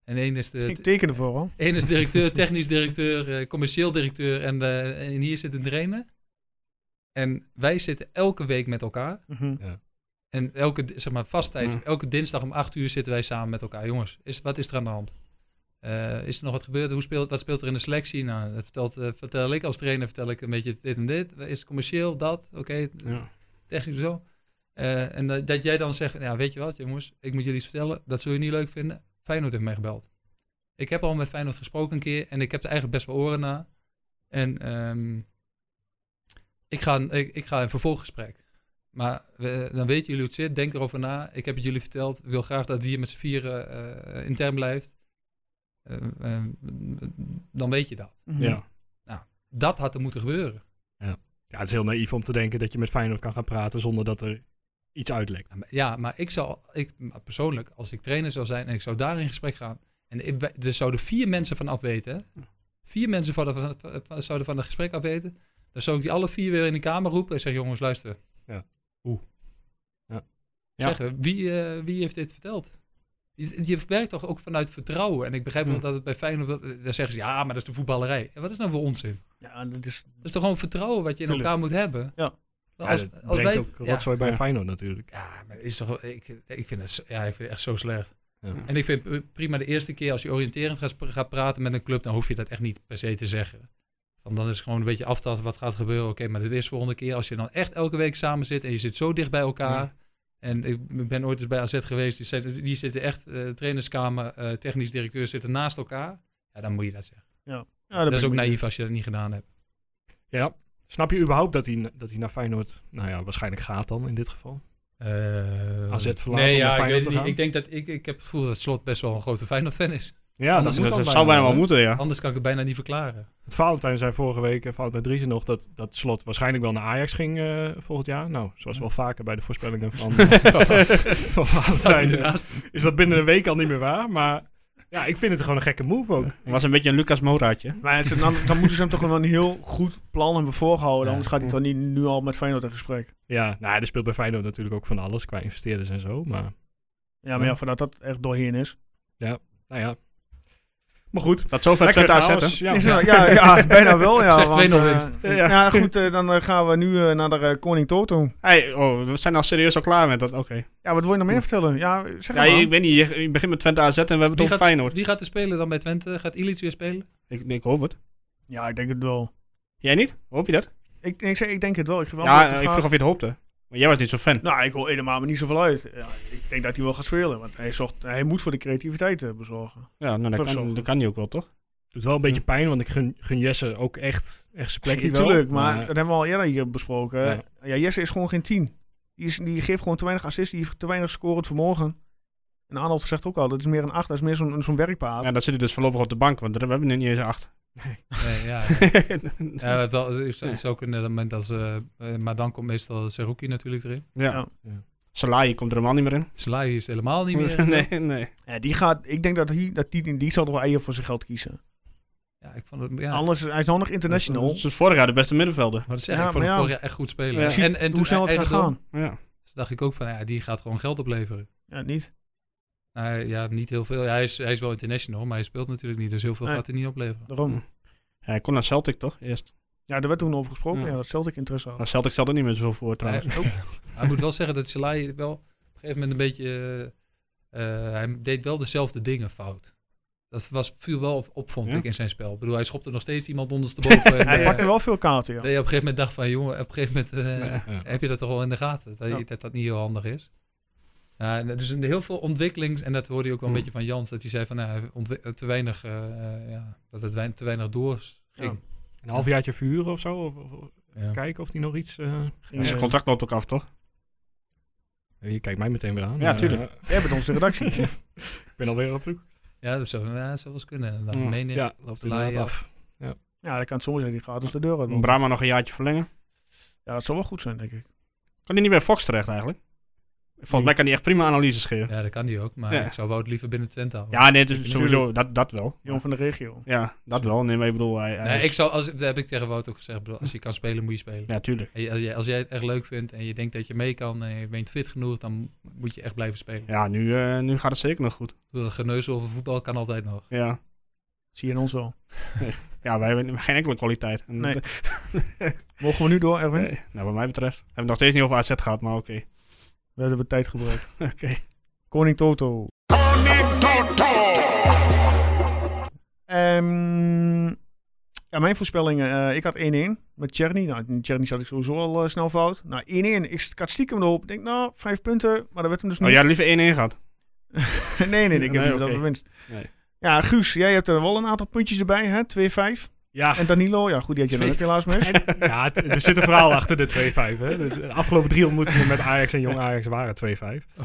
Speaker 7: En één is, de,
Speaker 1: ik teken ervoor, hoor.
Speaker 7: één is directeur, technisch directeur, eh, commercieel directeur. En, eh, en hier zit een trainer. En wij zitten elke week met elkaar.
Speaker 1: Mhm.
Speaker 7: En elke, di- zeg maar, vasttijd.
Speaker 3: Ja.
Speaker 7: Elke dinsdag om acht uur zitten wij samen met elkaar. Jongens, is, wat is er aan de hand? Eh, is er nog wat gebeurd? Hoe speelt, wat speelt er in de selectie? Nou, dat vertelt, eh, vertel ik als trainer, vertel ik een beetje dit en dit. Is het commercieel dat? Oké,
Speaker 3: ja.
Speaker 7: technisch zo. Eh, en dat, dat jij dan zegt, ja, weet je wat jongens, ik moet jullie iets vertellen. Dat zul je niet leuk vinden. Feyenoord heeft mij gebeld. Ik heb al met Feyenoord gesproken een keer en ik heb er eigenlijk best wel oren naar. En ehm, ik, ga, een- ik, ik ga een vervolggesprek. Maar we- dan weten jullie hoe het zit. Denk erover na. Ik heb het jullie verteld. Ik wil graag dat het hier met z'n vieren eh, intern blijft. Eh, eh, dan weet je dat.
Speaker 1: Mhm.
Speaker 2: Ja.
Speaker 7: Dat had er moeten gebeuren.
Speaker 2: ja, het is heel naïef om te denken dat je met Feyenoord kan gaan praten zonder dat er iets uitlekt.
Speaker 7: Ja, maar- Ja, maar ik zou, ik, maar persoonlijk, als ik trainer zou zijn en ik zou daar in gesprek gaan. En ik, wij- er zouden vier mensen van afweten. hè. Vier mensen van de- van- van- zouden van het gesprek afweten. Dan zou ik die alle vier weer in de kamer roepen en zeggen: jongens, luister.
Speaker 2: Ja.
Speaker 7: Hoe?
Speaker 2: Ja.
Speaker 7: Zeg, wie, eh, wie heeft dit verteld? Je, je werkt toch ook vanuit vertrouwen. En ik begrijp wel
Speaker 3: Ja.
Speaker 7: dat het bij Feyenoord... dat- Dan zeggen ze, ja, maar dat is de voetballerij. Ja, wat is nou voor onzin?
Speaker 1: Ja, dat is...
Speaker 7: Dat is toch gewoon vertrouwen wat je in
Speaker 1: Tuurlijk.
Speaker 7: elkaar moet hebben?
Speaker 1: Ja.
Speaker 2: Ja,
Speaker 7: Als,
Speaker 2: dat
Speaker 7: als
Speaker 2: brengt
Speaker 7: wij,
Speaker 2: ook rotzooi bij
Speaker 3: Ja.
Speaker 2: Feyenoord natuurlijk.
Speaker 7: ja, maar is toch, ik, ik, vind het, zo- ja, ik vind het echt zo slecht.
Speaker 2: Ja.
Speaker 7: En ik vind eh, prima de eerste keer als je oriënterend gaat, spra- gaat praten met een club, dan hoef je dat echt niet per se te zeggen. Want dan is het gewoon een beetje aftasten wat gaat gebeuren. Oké, maar de eerste volgende keer, als je dan echt elke week samen zit en je zit zo dicht bij elkaar. En ik ben ooit eens bij AZ geweest, die, zijn- die zitten echt, eh, trainerskamer, eh, technisch directeur zitten naast elkaar. Ja, dan moet je dat zeggen.
Speaker 1: Ja,
Speaker 7: dat
Speaker 1: ben
Speaker 7: is
Speaker 1: ik
Speaker 7: ook
Speaker 1: met je.
Speaker 7: naïef als je dat niet gedaan hebt.
Speaker 2: Ja. Snap je überhaupt dat hij, dat hij naar Feyenoord, nou ja, waarschijnlijk gaat dan in dit geval?
Speaker 7: Eh,
Speaker 2: AZ verlaten om
Speaker 7: nee,
Speaker 2: naar
Speaker 7: ja, ik,
Speaker 2: Feyenoord
Speaker 7: weet
Speaker 2: te
Speaker 7: het niet.
Speaker 2: gaan?
Speaker 7: ik denk dat ik, ik heb het gevoel dat Slot best wel een grote Feyenoord-fan is.
Speaker 2: Ja,
Speaker 7: dat
Speaker 2: dat, moet
Speaker 7: moet
Speaker 2: dan
Speaker 3: dat
Speaker 2: bijna
Speaker 3: zou bijna
Speaker 2: wel,
Speaker 3: wel
Speaker 2: hè?
Speaker 3: moeten, ja.
Speaker 7: Anders kan ik het bijna niet verklaren.
Speaker 2: Valentijn zei vorige week, eh, Valentijn Driessen nog, dat, dat Slot waarschijnlijk wel naar Ajax ging eh, volgend jaar. Nou, zoals wel vaker bij de voorspellingen van, eh, van
Speaker 7: Staat hij
Speaker 2: Valentijn. eh,
Speaker 7: ernaast?
Speaker 2: Is dat binnen een week al niet meer waar, maar ja, ik vind het gewoon een gekke move ook.
Speaker 3: Het was een beetje een Lucas Moraatje.
Speaker 1: Maar het is- dan, dan moeten ze hem toch wel een heel goed plan hebben voorgehouden.
Speaker 2: Ja.
Speaker 1: Anders gaat hij toch niet nu al met Feyenoord in gesprek.
Speaker 2: Ja, nou, er speelt bij Feyenoord natuurlijk ook van alles qua investeerders en zo, maar
Speaker 1: Ja, maar ja,
Speaker 2: Ja.
Speaker 1: voordat dat echt doorheen is.
Speaker 2: nou ja. Maar goed,
Speaker 3: Dat zover
Speaker 2: lekker
Speaker 3: Twente
Speaker 2: trouwens.
Speaker 3: aanzetten.
Speaker 2: Ja.
Speaker 1: Is er- ja, ja, bijna wel. Ja,
Speaker 7: Zeg
Speaker 1: want,
Speaker 7: 2-0
Speaker 1: eh,
Speaker 7: winst.
Speaker 1: ja. goed, eh, dan eh, gaan we nu eh, naar de eh, Koning Toto.
Speaker 3: Hey, oh, we zijn al serieus al klaar met dat, oké.
Speaker 1: Ja, wat wil je nog meer vertellen? Ja, zeg
Speaker 3: Ja,
Speaker 1: maar.
Speaker 3: ik weet niet, je, je begint met Twente AZ en we hebben het
Speaker 7: Wie
Speaker 3: over
Speaker 7: gaat,
Speaker 3: Feyenoord.
Speaker 7: wie gaat er spelen dan bij Twente? Gaat Illich weer spelen?
Speaker 3: Ik, ik hoop het.
Speaker 1: Ja, ik denk het wel.
Speaker 3: Jij niet? Hoop je dat?
Speaker 1: Ik, ik, zeg, ik denk het wel. Ik geef wel
Speaker 3: Ja, eh,
Speaker 1: antwoord op de
Speaker 3: ik
Speaker 1: vraag.
Speaker 3: vroeg of je het hoopte. Maar jij was niet zo fan.
Speaker 1: Nou, ik hoor helemaal maar niet zoveel uit. Ja, ik denk dat hij wel gaat spelen, want hij, zocht, hij moet voor de creativiteit eh, bezorgen.
Speaker 3: Ja, nou,
Speaker 1: Vond
Speaker 3: dat,
Speaker 1: ik zo.
Speaker 3: kan, dat kan hij ook wel, toch?
Speaker 2: doet wel een beetje pijn, want ik gun, gun Jesse ook echt, echt zijn plekje wel.
Speaker 1: Natuurlijk, maar dat hebben we al eerder hier besproken.
Speaker 2: Ja.
Speaker 1: Ja, Jesse is gewoon geen 10. Die, is, die geeft gewoon te weinig assist, die heeft te weinig scorend vermogen. En Arnold zegt ook al, dat is meer een 8, dat is meer zo'n zo'n werkpaas.
Speaker 3: Ja, dat zit hij dus voorlopig op de bank, want we hebben nu niet eens acht.
Speaker 7: Nee, ja. ja het wel, het is, het is ook in het moment dat ze... eh, maar dan komt meestal Seruki natuurlijk erin.
Speaker 3: ja. Salai komt er helemaal niet meer in.
Speaker 7: Salai is helemaal niet meer.
Speaker 3: nee, nee.
Speaker 1: Ja, die gaat, ik denk dat, hij, dat die, die zal toch wel eieren voor zijn geld kiezen.
Speaker 7: Ja, ik vond het... Ja,
Speaker 1: Anders, hij is nog nog international.
Speaker 3: Dat is het vorig jaar de beste middenvelder.
Speaker 7: Maar dat zeg
Speaker 1: Ja,
Speaker 7: ik, voor
Speaker 1: maar
Speaker 7: de
Speaker 1: ja.
Speaker 7: vorig jaar echt goed spelen.
Speaker 3: Ja.
Speaker 1: Je ziet
Speaker 7: En, en
Speaker 1: hoe
Speaker 7: toen
Speaker 1: snel het
Speaker 7: hij
Speaker 1: gaat
Speaker 7: eigendom-
Speaker 1: gaan.
Speaker 3: Ja.
Speaker 7: Dus dacht ik ook van, ja, die gaat gewoon geld opleveren.
Speaker 1: Ja, niet.
Speaker 7: Nou, ja, niet heel veel. Ja, hij, is, hij is wel international, maar hij speelt natuurlijk niet. Dus heel veel
Speaker 1: Nee.
Speaker 7: gaat hij niet opleveren.
Speaker 1: Daarom.
Speaker 3: Ja, hij kon naar Celtic toch, eerst.
Speaker 1: Ja, daar werd toen over gesproken.
Speaker 3: Ja.
Speaker 1: Ja, dat Celtic interesse had.
Speaker 3: Maar Celtic zat er niet meer zoveel voor
Speaker 7: Eh, oh. Hij,
Speaker 3: trouwens.
Speaker 7: Maar ik moet wel zeggen dat Selai wel op een gegeven moment een beetje... eh, eh, hij deed wel dezelfde dingen fout. Dat was, viel wel op, op, vond
Speaker 3: Ja.
Speaker 7: ik, in zijn spel. Ik bedoel, hij schopte nog steeds iemand ondersteboven. en,
Speaker 1: Hij
Speaker 7: eh,
Speaker 1: pakte wel veel kaarten, ja.
Speaker 7: Dat je op een gegeven moment dacht van, jongen, op een gegeven moment eh,
Speaker 3: Ja.
Speaker 7: heb je dat toch wel in de gaten. Dat, je-
Speaker 1: Ja.
Speaker 7: dat dat niet heel handig is. Ja, en dus een- heel veel ontwikkelings, en dat hoorde je ook wel een
Speaker 3: Hmm.
Speaker 7: beetje van Jans, dat hij zei van, nou, hij ontwi- te weinig, eh, eh, ja, dat het wein- te weinig doorging.
Speaker 1: Ja.
Speaker 2: Een halfjaartje verhuren of zo. Of, of- of
Speaker 7: Ja.
Speaker 2: kijken of die nog iets... eh,
Speaker 1: Ging,
Speaker 3: Dus Zijn
Speaker 1: eh,
Speaker 3: contract loopt ook af, toch?
Speaker 2: je kijkt mij meteen weer aan.
Speaker 3: Ja,
Speaker 2: Eh,
Speaker 3: tuurlijk.
Speaker 1: Jij bent onze redactie.
Speaker 2: ik ben alweer op zoek.
Speaker 7: Ja, dat zou, ja, dat zou wel eens kunnen. En Dan
Speaker 3: Ja.
Speaker 7: meen ik,
Speaker 2: Ja, loopt
Speaker 7: Laai
Speaker 2: inderdaad
Speaker 7: af.
Speaker 2: af.
Speaker 1: ja, dat kan het soms zijn. Die gaat dus de deur uit.
Speaker 3: Om
Speaker 1: want-
Speaker 3: Brahma nog een jaartje verlengen.
Speaker 1: Ja, dat zou wel goed zijn, denk ik.
Speaker 3: Kan hij niet bij Fox terecht eigenlijk? Volgens mij kan hij echt prima analyses geven.
Speaker 7: ja, dat kan die ook, maar
Speaker 3: Ja.
Speaker 7: ik zou Wout liever binnen Twente houden.
Speaker 3: Ja, nee, dus sowieso, dat, dat wel.
Speaker 1: Jong van de regio.
Speaker 3: Ja, dat wel. Nee, maar ik bedoel, hij, hij
Speaker 7: Nee,
Speaker 3: is-
Speaker 7: ik zou, als, dat heb ik tegen Wout ook gezegd, ik bedoel, als je kan spelen, moet je spelen.
Speaker 3: dus- Ja, tuurlijk.
Speaker 7: En je- als jij- als jij het echt leuk vindt en je denkt dat je mee kan en je bent fit genoeg, dan moet je echt blijven spelen.
Speaker 3: Ja, nu, eh, nu gaat het zeker nog goed.
Speaker 7: Ik bedoel, Geneuzel over voetbal kan altijd nog.
Speaker 3: Ja,
Speaker 1: Zie je in ons wel.
Speaker 3: ja wij hebben geen enkele kwaliteit. En
Speaker 1: Nee.
Speaker 3: dat-
Speaker 1: Mogen we nu door, Erwin?
Speaker 3: Nee, nou, wat mij betreft. We hebben het nog steeds niet over AZ gehad, maar oké.
Speaker 1: We hebben de tijd gebruikt.
Speaker 3: Oké.
Speaker 1: Koning Toto. Ehm, ja, mijn voorspellingen. eh, ik had 1-1 met Tjerni. Nou, in Tjerni zat ik sowieso al eh, snel fout. Nou, 1-1. Ik had stiekem erop. Ik denk, nou, vijf punten. Maar dat werd hem dus
Speaker 3: Oh,
Speaker 1: niet.
Speaker 3: jij had liever 1-1 gehad.
Speaker 1: nee, nee, nee, ik heb
Speaker 3: Nee,
Speaker 1: niet
Speaker 3: oké.
Speaker 1: dat we winst.
Speaker 3: Nee.
Speaker 1: Ja, Guus, jij hebt er wel een aantal puntjes erbij, hè? 2-5.
Speaker 2: Ja,
Speaker 1: En Danilo, ja goed, die had je dan ook helaas mis.
Speaker 2: ja het- er zit een verhaal achter de 2-5. Hè. De, de afgelopen drie ontmoetingen met Ajax en Jong Ajax waren 2-5.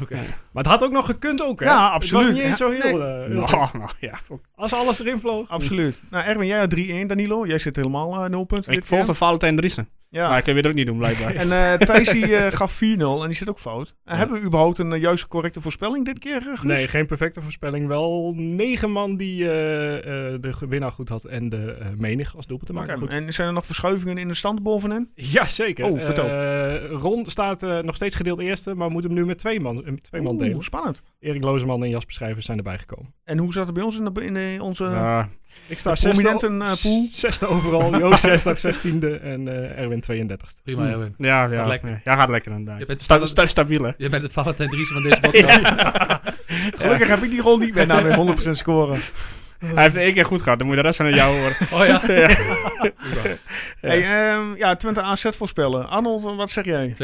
Speaker 7: Oké.
Speaker 2: Maar het had ook nog gekund ook, hè?
Speaker 1: Ja,
Speaker 2: Het
Speaker 1: absoluut.
Speaker 2: was niet eens
Speaker 1: Ja,
Speaker 2: zo heel... eh, heel gek.
Speaker 3: Nou, nou, ja.
Speaker 2: Als alles erin vloog.
Speaker 1: Absoluut. Nou, Erwin, jij had 3-1, Danilo. Jij zit helemaal eh 0 punten.
Speaker 3: Ik
Speaker 1: dit keer.
Speaker 3: volgde Valentijn Driessen.
Speaker 1: Ja.
Speaker 3: Maar ik kan weer ook niet doen, blijkbaar.
Speaker 1: En eh Thijs die, eh, gaf 4-0 en die zit ook fout. En
Speaker 2: Ja.
Speaker 1: Hebben we überhaupt een eh, juiste correcte voorspelling dit keer, eh, Guus?
Speaker 2: Nee, geen perfecte voorspelling. Wel negen man die eh, eh, de ge- winnaar goed had en de eh, menig als doelpunt te maken.
Speaker 1: Oké,
Speaker 2: goed.
Speaker 1: En zijn er nog verschuivingen in de stand bovenin?
Speaker 2: Jazeker.
Speaker 1: Oh, vertel.
Speaker 2: Eh, Ron staat eh, nog steeds gedeeld eerste, maar moet hem nu met twee man, eh, met twee man
Speaker 1: Oeh,
Speaker 2: delen.
Speaker 1: spannend.
Speaker 2: Erik Lozeman en Jasper Schrijvers zijn erbij gekomen.
Speaker 1: En hoe zat het bij ons in, de, in eh, onze...
Speaker 3: Ja,
Speaker 2: Ik sta
Speaker 1: De
Speaker 2: zesde,
Speaker 1: prominenten, eh, pool.
Speaker 2: zesde overal. Joost zes staat zestiende en eh, Erwin 32e.
Speaker 7: Prima,
Speaker 3: Hmm.
Speaker 7: Erwin.
Speaker 3: ja, ja,
Speaker 7: Gaat lekker.
Speaker 3: ja, gaat lekker inderdaad.
Speaker 7: Je bent-
Speaker 3: Sta- sta- stabiel, hè?
Speaker 7: Je bent het Valentijn Driessen van deze podcast.
Speaker 1: Gelukkig heb ik die rol niet meer na mijn 100% scoren.
Speaker 3: Hij heeft het één keer goed gehad, dan moet je de rest van het jaar horen.
Speaker 7: Oh ja, 2-0.
Speaker 1: Hey, ehm, ja, Twente AZ voorspellen. Arnold, wat zeg jij?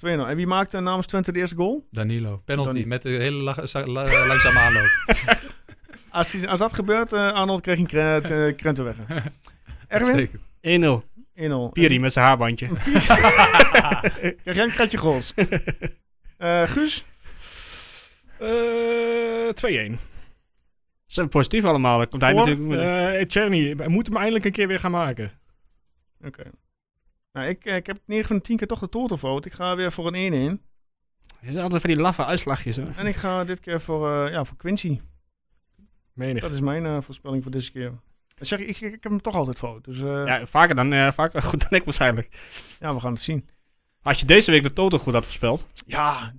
Speaker 1: 2-0. En wie maakt eh, namens Twente de eerste goal?
Speaker 7: Danilo. Penalty
Speaker 1: Danilo.
Speaker 7: met de hele la- za- la- langzame aanloop.
Speaker 1: Als, die- als dat gebeurt, eh, Arnold kreeg een kre- eh, krentenweg. Erwin? 1-0.
Speaker 7: Uitstekend.
Speaker 3: 1-0. Piri met zijn haarbandje.
Speaker 1: Krijg jij een katje goals? Eh, Guus?
Speaker 2: Eh 2-1.
Speaker 3: Ze zijn positief allemaal. Dan komt hij
Speaker 1: Voor?
Speaker 3: natuurlijk met-
Speaker 2: Eh Tjerny, we moeten hem eindelijk een keer weer gaan maken.
Speaker 1: Oké. Nou, ik, eh, ik heb 9 van de 10 keer toch de totofoot. Ik ga weer voor een 1-1.
Speaker 3: Je zit altijd van die laffe uitslagjes, hè?
Speaker 1: En ik ga dit keer voor, eh, ja, voor Quincy.
Speaker 2: Menig.
Speaker 1: Dat is mijn eh, voorspelling voor deze keer. Ik Zeg, ik, ik, ik heb hem toch altijd fout. Dus eh, ja.
Speaker 3: Ja, vaker dan, eh, vaker goed dan ik waarschijnlijk.
Speaker 1: we gaan het zien.
Speaker 3: Als je deze week de total goed had voorspeld,
Speaker 1: Ja,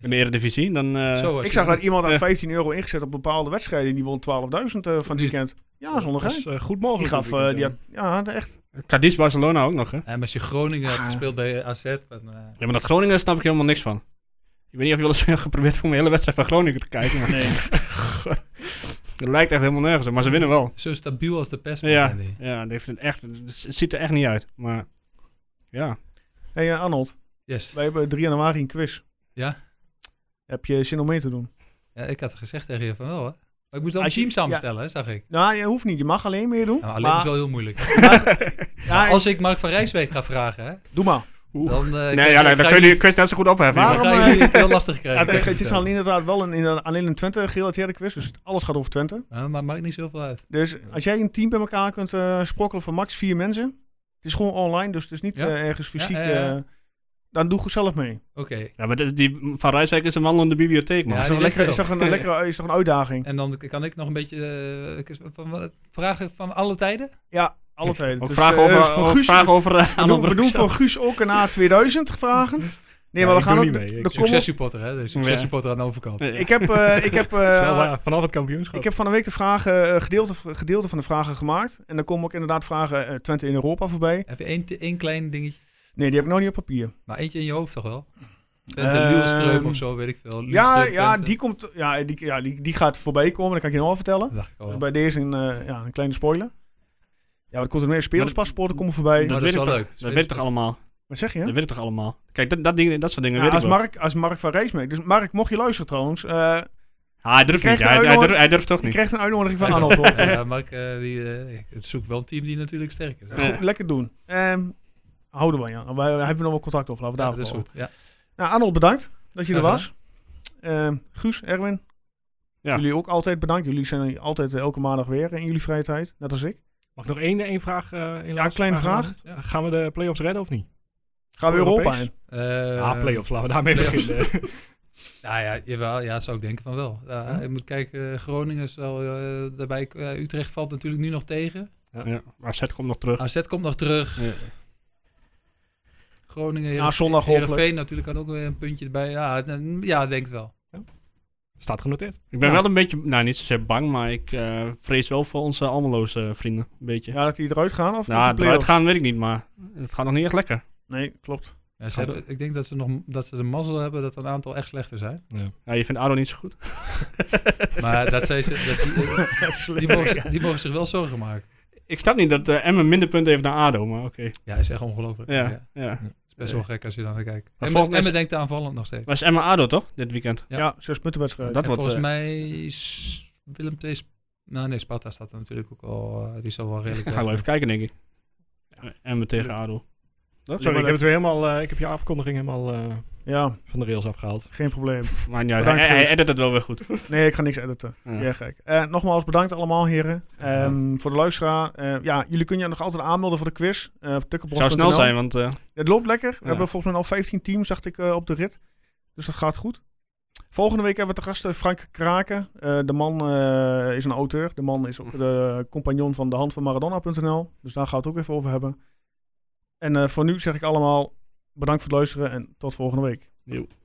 Speaker 3: in de Eredivisie, dan... eh,
Speaker 7: Zo, als
Speaker 1: ik
Speaker 7: je-
Speaker 1: zag dat iemand
Speaker 3: Ja.
Speaker 1: had 15 euro ingezet op bepaalde wedstrijden. en Die won 12.000 eh, van het
Speaker 7: Niet.
Speaker 1: weekend. Ja, zonder
Speaker 2: Dat
Speaker 1: gein.
Speaker 2: is eh, goed
Speaker 1: Die
Speaker 2: mogelijk.
Speaker 1: gaf,
Speaker 2: dit
Speaker 1: eh, die
Speaker 2: weekend,
Speaker 1: had, ja, echt.
Speaker 3: Cadiz Barcelona ook nog, hè?
Speaker 7: Ja, maar als je Groningen had
Speaker 3: Ah.
Speaker 7: gespeeld bij AZ. dan, eh,
Speaker 3: Ja, maar dat Groningen snap ik helemaal niks van. Ik weet niet of je wel eens hebt geprobeerd om de hele wedstrijd van Groningen te kijken. Maar
Speaker 1: Nee.
Speaker 3: dat lijkt echt helemaal nergens op, maar ze winnen wel.
Speaker 7: zo stabiel als de pest
Speaker 3: Ja,
Speaker 7: zijn die.
Speaker 3: ja die heeft het, echt, het ziet er echt niet uit. Maar ja,
Speaker 1: hey, eh, Arnold,
Speaker 7: Yes.
Speaker 1: wij hebben 3 januari een quiz.
Speaker 7: Ja.
Speaker 1: Heb je zin om mee te doen?
Speaker 7: ja, ik had gezegd tegen je van wel, hè. Maar ik moet wel een
Speaker 1: Als je-
Speaker 7: team samenstellen, hè, zag ik.
Speaker 1: Nou, je hoeft niet. Je mag alleen meedoen.
Speaker 7: Ja, maar Nou, alleen
Speaker 1: maar-
Speaker 7: is wel heel moeilijk.
Speaker 1: ja,
Speaker 7: Als ik Mark van Rijswijk ga vragen, hè,
Speaker 1: Doe maar.
Speaker 3: Oeh.
Speaker 7: dan, eh,
Speaker 3: nee, ja, nee, dan kun je die quiz net zo goed opheffen.
Speaker 1: Waarom-
Speaker 3: jongen.
Speaker 7: ga je het heel lastig krijgen.
Speaker 1: Ja, het,
Speaker 7: kan
Speaker 1: het
Speaker 7: ik
Speaker 1: is
Speaker 7: je
Speaker 1: alleen inderdaad wel een, inderdaad alleen een Twente gerelateerde quiz, dus alles gaat over Twente.
Speaker 7: vertellen. Ja, Nou, maar maakt niet zoveel uit.
Speaker 1: Dus als jij een team bij elkaar kunt eh, sprokkelen van max vier mensen, het is gewoon online, dus het is niet
Speaker 7: Ja.
Speaker 1: eh, ergens fysiek.
Speaker 7: ja, ja.
Speaker 1: eh, Dan doe ik zelf mee.
Speaker 7: Oké.
Speaker 3: Ja, maar dit- die Van Rijswijk is een wandelende bibliotheek, man.
Speaker 7: Ja,
Speaker 1: is,
Speaker 7: die
Speaker 1: toch een lekkere, is,
Speaker 7: ligt er
Speaker 1: toch een lekkere, is toch een uitdaging?
Speaker 7: En dan kan ik nog een beetje eh, ik- van, wat- vragen van alle tijden.
Speaker 1: Ja, alle twee.
Speaker 3: Ook
Speaker 1: Dus,
Speaker 3: vragen
Speaker 1: eh,
Speaker 3: over,
Speaker 1: voor
Speaker 3: over-
Speaker 1: Guus-
Speaker 3: vragen over eh,
Speaker 1: we
Speaker 3: Anne
Speaker 1: doen, we
Speaker 3: Brugge.
Speaker 1: doen voor Guus ook een A2000 vragen. Nee,
Speaker 2: Ja,
Speaker 1: maar we
Speaker 2: ik
Speaker 1: gaan
Speaker 2: doe
Speaker 1: ook...
Speaker 2: niet mee.
Speaker 1: de-
Speaker 2: Ik-
Speaker 1: de kom op-
Speaker 7: Successupporter, hè? De successupporter aan de overkant.
Speaker 3: Ja.
Speaker 1: Ik heb, eh, ik, heb, eh,
Speaker 2: Dat is wel waar, vanaf het kampioenschap.
Speaker 1: ik heb van de week de vragen, eh, gedeelte, gedeelte van de vragen gemaakt. En dan komen ook inderdaad vragen eh, Twente in Europa voorbij.
Speaker 7: Heb je één, één klein dingetje?
Speaker 1: Nee, die heb ik nog niet op papier.
Speaker 7: Maar eentje in je hoofd toch wel? Twente,
Speaker 1: Ehm,
Speaker 7: Lielstreum of zo, weet ik
Speaker 1: Ja,
Speaker 7: veel. Lielstreum,
Speaker 1: ja,
Speaker 7: Twente.
Speaker 1: die, komt, ja, die, ja die, die gaat voorbij komen. Dat kan ik je nog wel vertellen.
Speaker 7: Dacht ik al.
Speaker 1: Dus
Speaker 7: Maar
Speaker 1: bij deze een, eh, ja, een kleine spoiler. Ja, wat komt er meer? Spelerspaspoorten komen voorbij.
Speaker 7: dat,
Speaker 3: dat
Speaker 7: is
Speaker 3: weet
Speaker 7: wel
Speaker 3: ik toch-
Speaker 7: leuk.
Speaker 3: Dat weet ik toch allemaal?
Speaker 1: Wat zeg je?
Speaker 3: Dat weet ik toch allemaal? Kijk, dat, dat, ding, dat soort dingen
Speaker 1: Ja,
Speaker 3: weet ik
Speaker 1: als,
Speaker 3: wel.
Speaker 1: Mark, als Mark van Rees mee. Dus Mark, mocht je luisteren trouwens. eh
Speaker 3: Ah, hij durft
Speaker 1: Je
Speaker 3: niet.
Speaker 1: krijgt een
Speaker 3: Hij, hij,
Speaker 1: uitnodiging-
Speaker 3: durft, hij durft toch
Speaker 1: je
Speaker 3: niet.
Speaker 1: krijgt een uitnodiging van
Speaker 7: Ja,
Speaker 1: Arnold. hoor.
Speaker 7: Ja, Mark, eh, die, eh, ik zoek wel een team die natuurlijk sterker is.
Speaker 1: Goed, lekker doen. Ehm, houden we, ja. Wij, hebben we nog wel contact over. Laten we
Speaker 7: Ja,
Speaker 1: daar
Speaker 7: dat is goed. Ja.
Speaker 1: Nou, Arnold, bedankt dat je er
Speaker 7: Graag
Speaker 1: was. Ehm, Guus, Erwin.
Speaker 3: Ja.
Speaker 1: Jullie ook altijd bedankt. Jullie zijn altijd eh, elke maandag weer in jullie vrije tijd. Net als ik.
Speaker 2: Mag ik nog één, één vraag? eh, één
Speaker 1: Ja, een
Speaker 2: laatste
Speaker 1: kleine vraag.
Speaker 2: nog? Ja, Gaan we de play-offs redden of niet?
Speaker 1: Gaan we
Speaker 2: Europees?
Speaker 1: Europa in.
Speaker 7: Eh,
Speaker 2: ja, play-offs. Laten we daarmee
Speaker 7: play-offs.
Speaker 2: beginnen.
Speaker 7: Nou ja, jawel, ja, zou ik denken van wel. Ja, Ik moet kijken, eh, Groningen is wel eh, daarbij. eh, Utrecht valt natuurlijk nu nog tegen.
Speaker 3: Ja, maar Zet komt nog terug.
Speaker 7: AZ komt nog terug.
Speaker 3: Ja.
Speaker 7: Groningen,
Speaker 1: Na
Speaker 7: Heerenveen,
Speaker 1: zondag hopelijk.
Speaker 7: Heerenveen natuurlijk had ook weer een puntje erbij. Ja, n- ja ik denk het wel.
Speaker 2: Staat genoteerd.
Speaker 3: Ik ben wel een beetje, nou niet zozeer bang, maar ik eh, vrees wel voor onze Almeloze vrienden. Een beetje.
Speaker 1: Ja, dat die eruit gaan? Of
Speaker 3: nou,
Speaker 1: dat die play-offs?
Speaker 3: het gaan weet ik niet, maar het gaat nog niet echt lekker.
Speaker 1: Nee, klopt.
Speaker 7: Ja, ze
Speaker 3: Gaat
Speaker 7: hebben- ik denk dat ze, nog, dat ze de mazzel hebben dat een aantal echt slechter zijn.
Speaker 3: Ja, je vindt Aro niet zo goed.
Speaker 7: Maar dat zij ze, dat die, die, mogen, zich- die mogen zich wel zorgen maken.
Speaker 3: Ik snap niet dat eh Emmen minder punten heeft dan Ado, maar oké.
Speaker 7: Ja, is echt ongelooflijk.
Speaker 3: Ja,
Speaker 7: Ja,
Speaker 3: ja.
Speaker 7: is best wel gek als je dan naar kijkt. En
Speaker 3: volgens mij
Speaker 7: Emmen
Speaker 3: is-
Speaker 7: Emmen denkt aanvallend nog steeds.
Speaker 3: Maar is Emmen Ado toch, dit weekend?
Speaker 1: Ja,
Speaker 7: Ja.
Speaker 1: zes punten wedstrijd.
Speaker 3: Dat
Speaker 7: En
Speaker 3: wordt,
Speaker 7: volgens
Speaker 3: eh,
Speaker 7: mij is Willem II... Sp- Nou nee, Sparta staat er natuurlijk ook al... eh, die zal wel redelijk...
Speaker 3: Dan gaan we
Speaker 7: weg
Speaker 3: even kijken, denk ik. Emmen tegen Ado.
Speaker 2: Sorry, ik
Speaker 1: leuk.
Speaker 2: heb, het weer helemaal, eh, ik heb je afkondiging helemaal eh,
Speaker 1: Ja,
Speaker 2: van de rails afgehaald.
Speaker 1: geen probleem.
Speaker 3: Maar ja, hij,
Speaker 1: Bedankt,
Speaker 3: hij
Speaker 1: Guus.
Speaker 3: edit het wel weer goed.
Speaker 1: Nee, ik ga niks editen.
Speaker 3: Ja.
Speaker 1: Ja, gek. Eh, nogmaals bedankt allemaal, heren. Ehm, Voor de luisteraar. eh, ja, jullie kunnen je nog altijd aanmelden voor de quiz. eh, op
Speaker 3: Het zou snel
Speaker 1: tukkenbroek.nl.
Speaker 3: zijn, want eh,
Speaker 1: Het loopt lekker. We
Speaker 3: Ja.
Speaker 1: hebben volgens mij al 15 teams, dacht ik, eh, op de rit. Dus dat gaat goed. Volgende week hebben we te gast eh, Frank Kraken. Eh, de man eh, is een auteur. De man is ook de compagnon van de hand van Maradona.nl. Dus daar gaan we het ook even over hebben. En eh, voor nu zeg ik allemaal bedankt voor het luisteren en tot volgende week.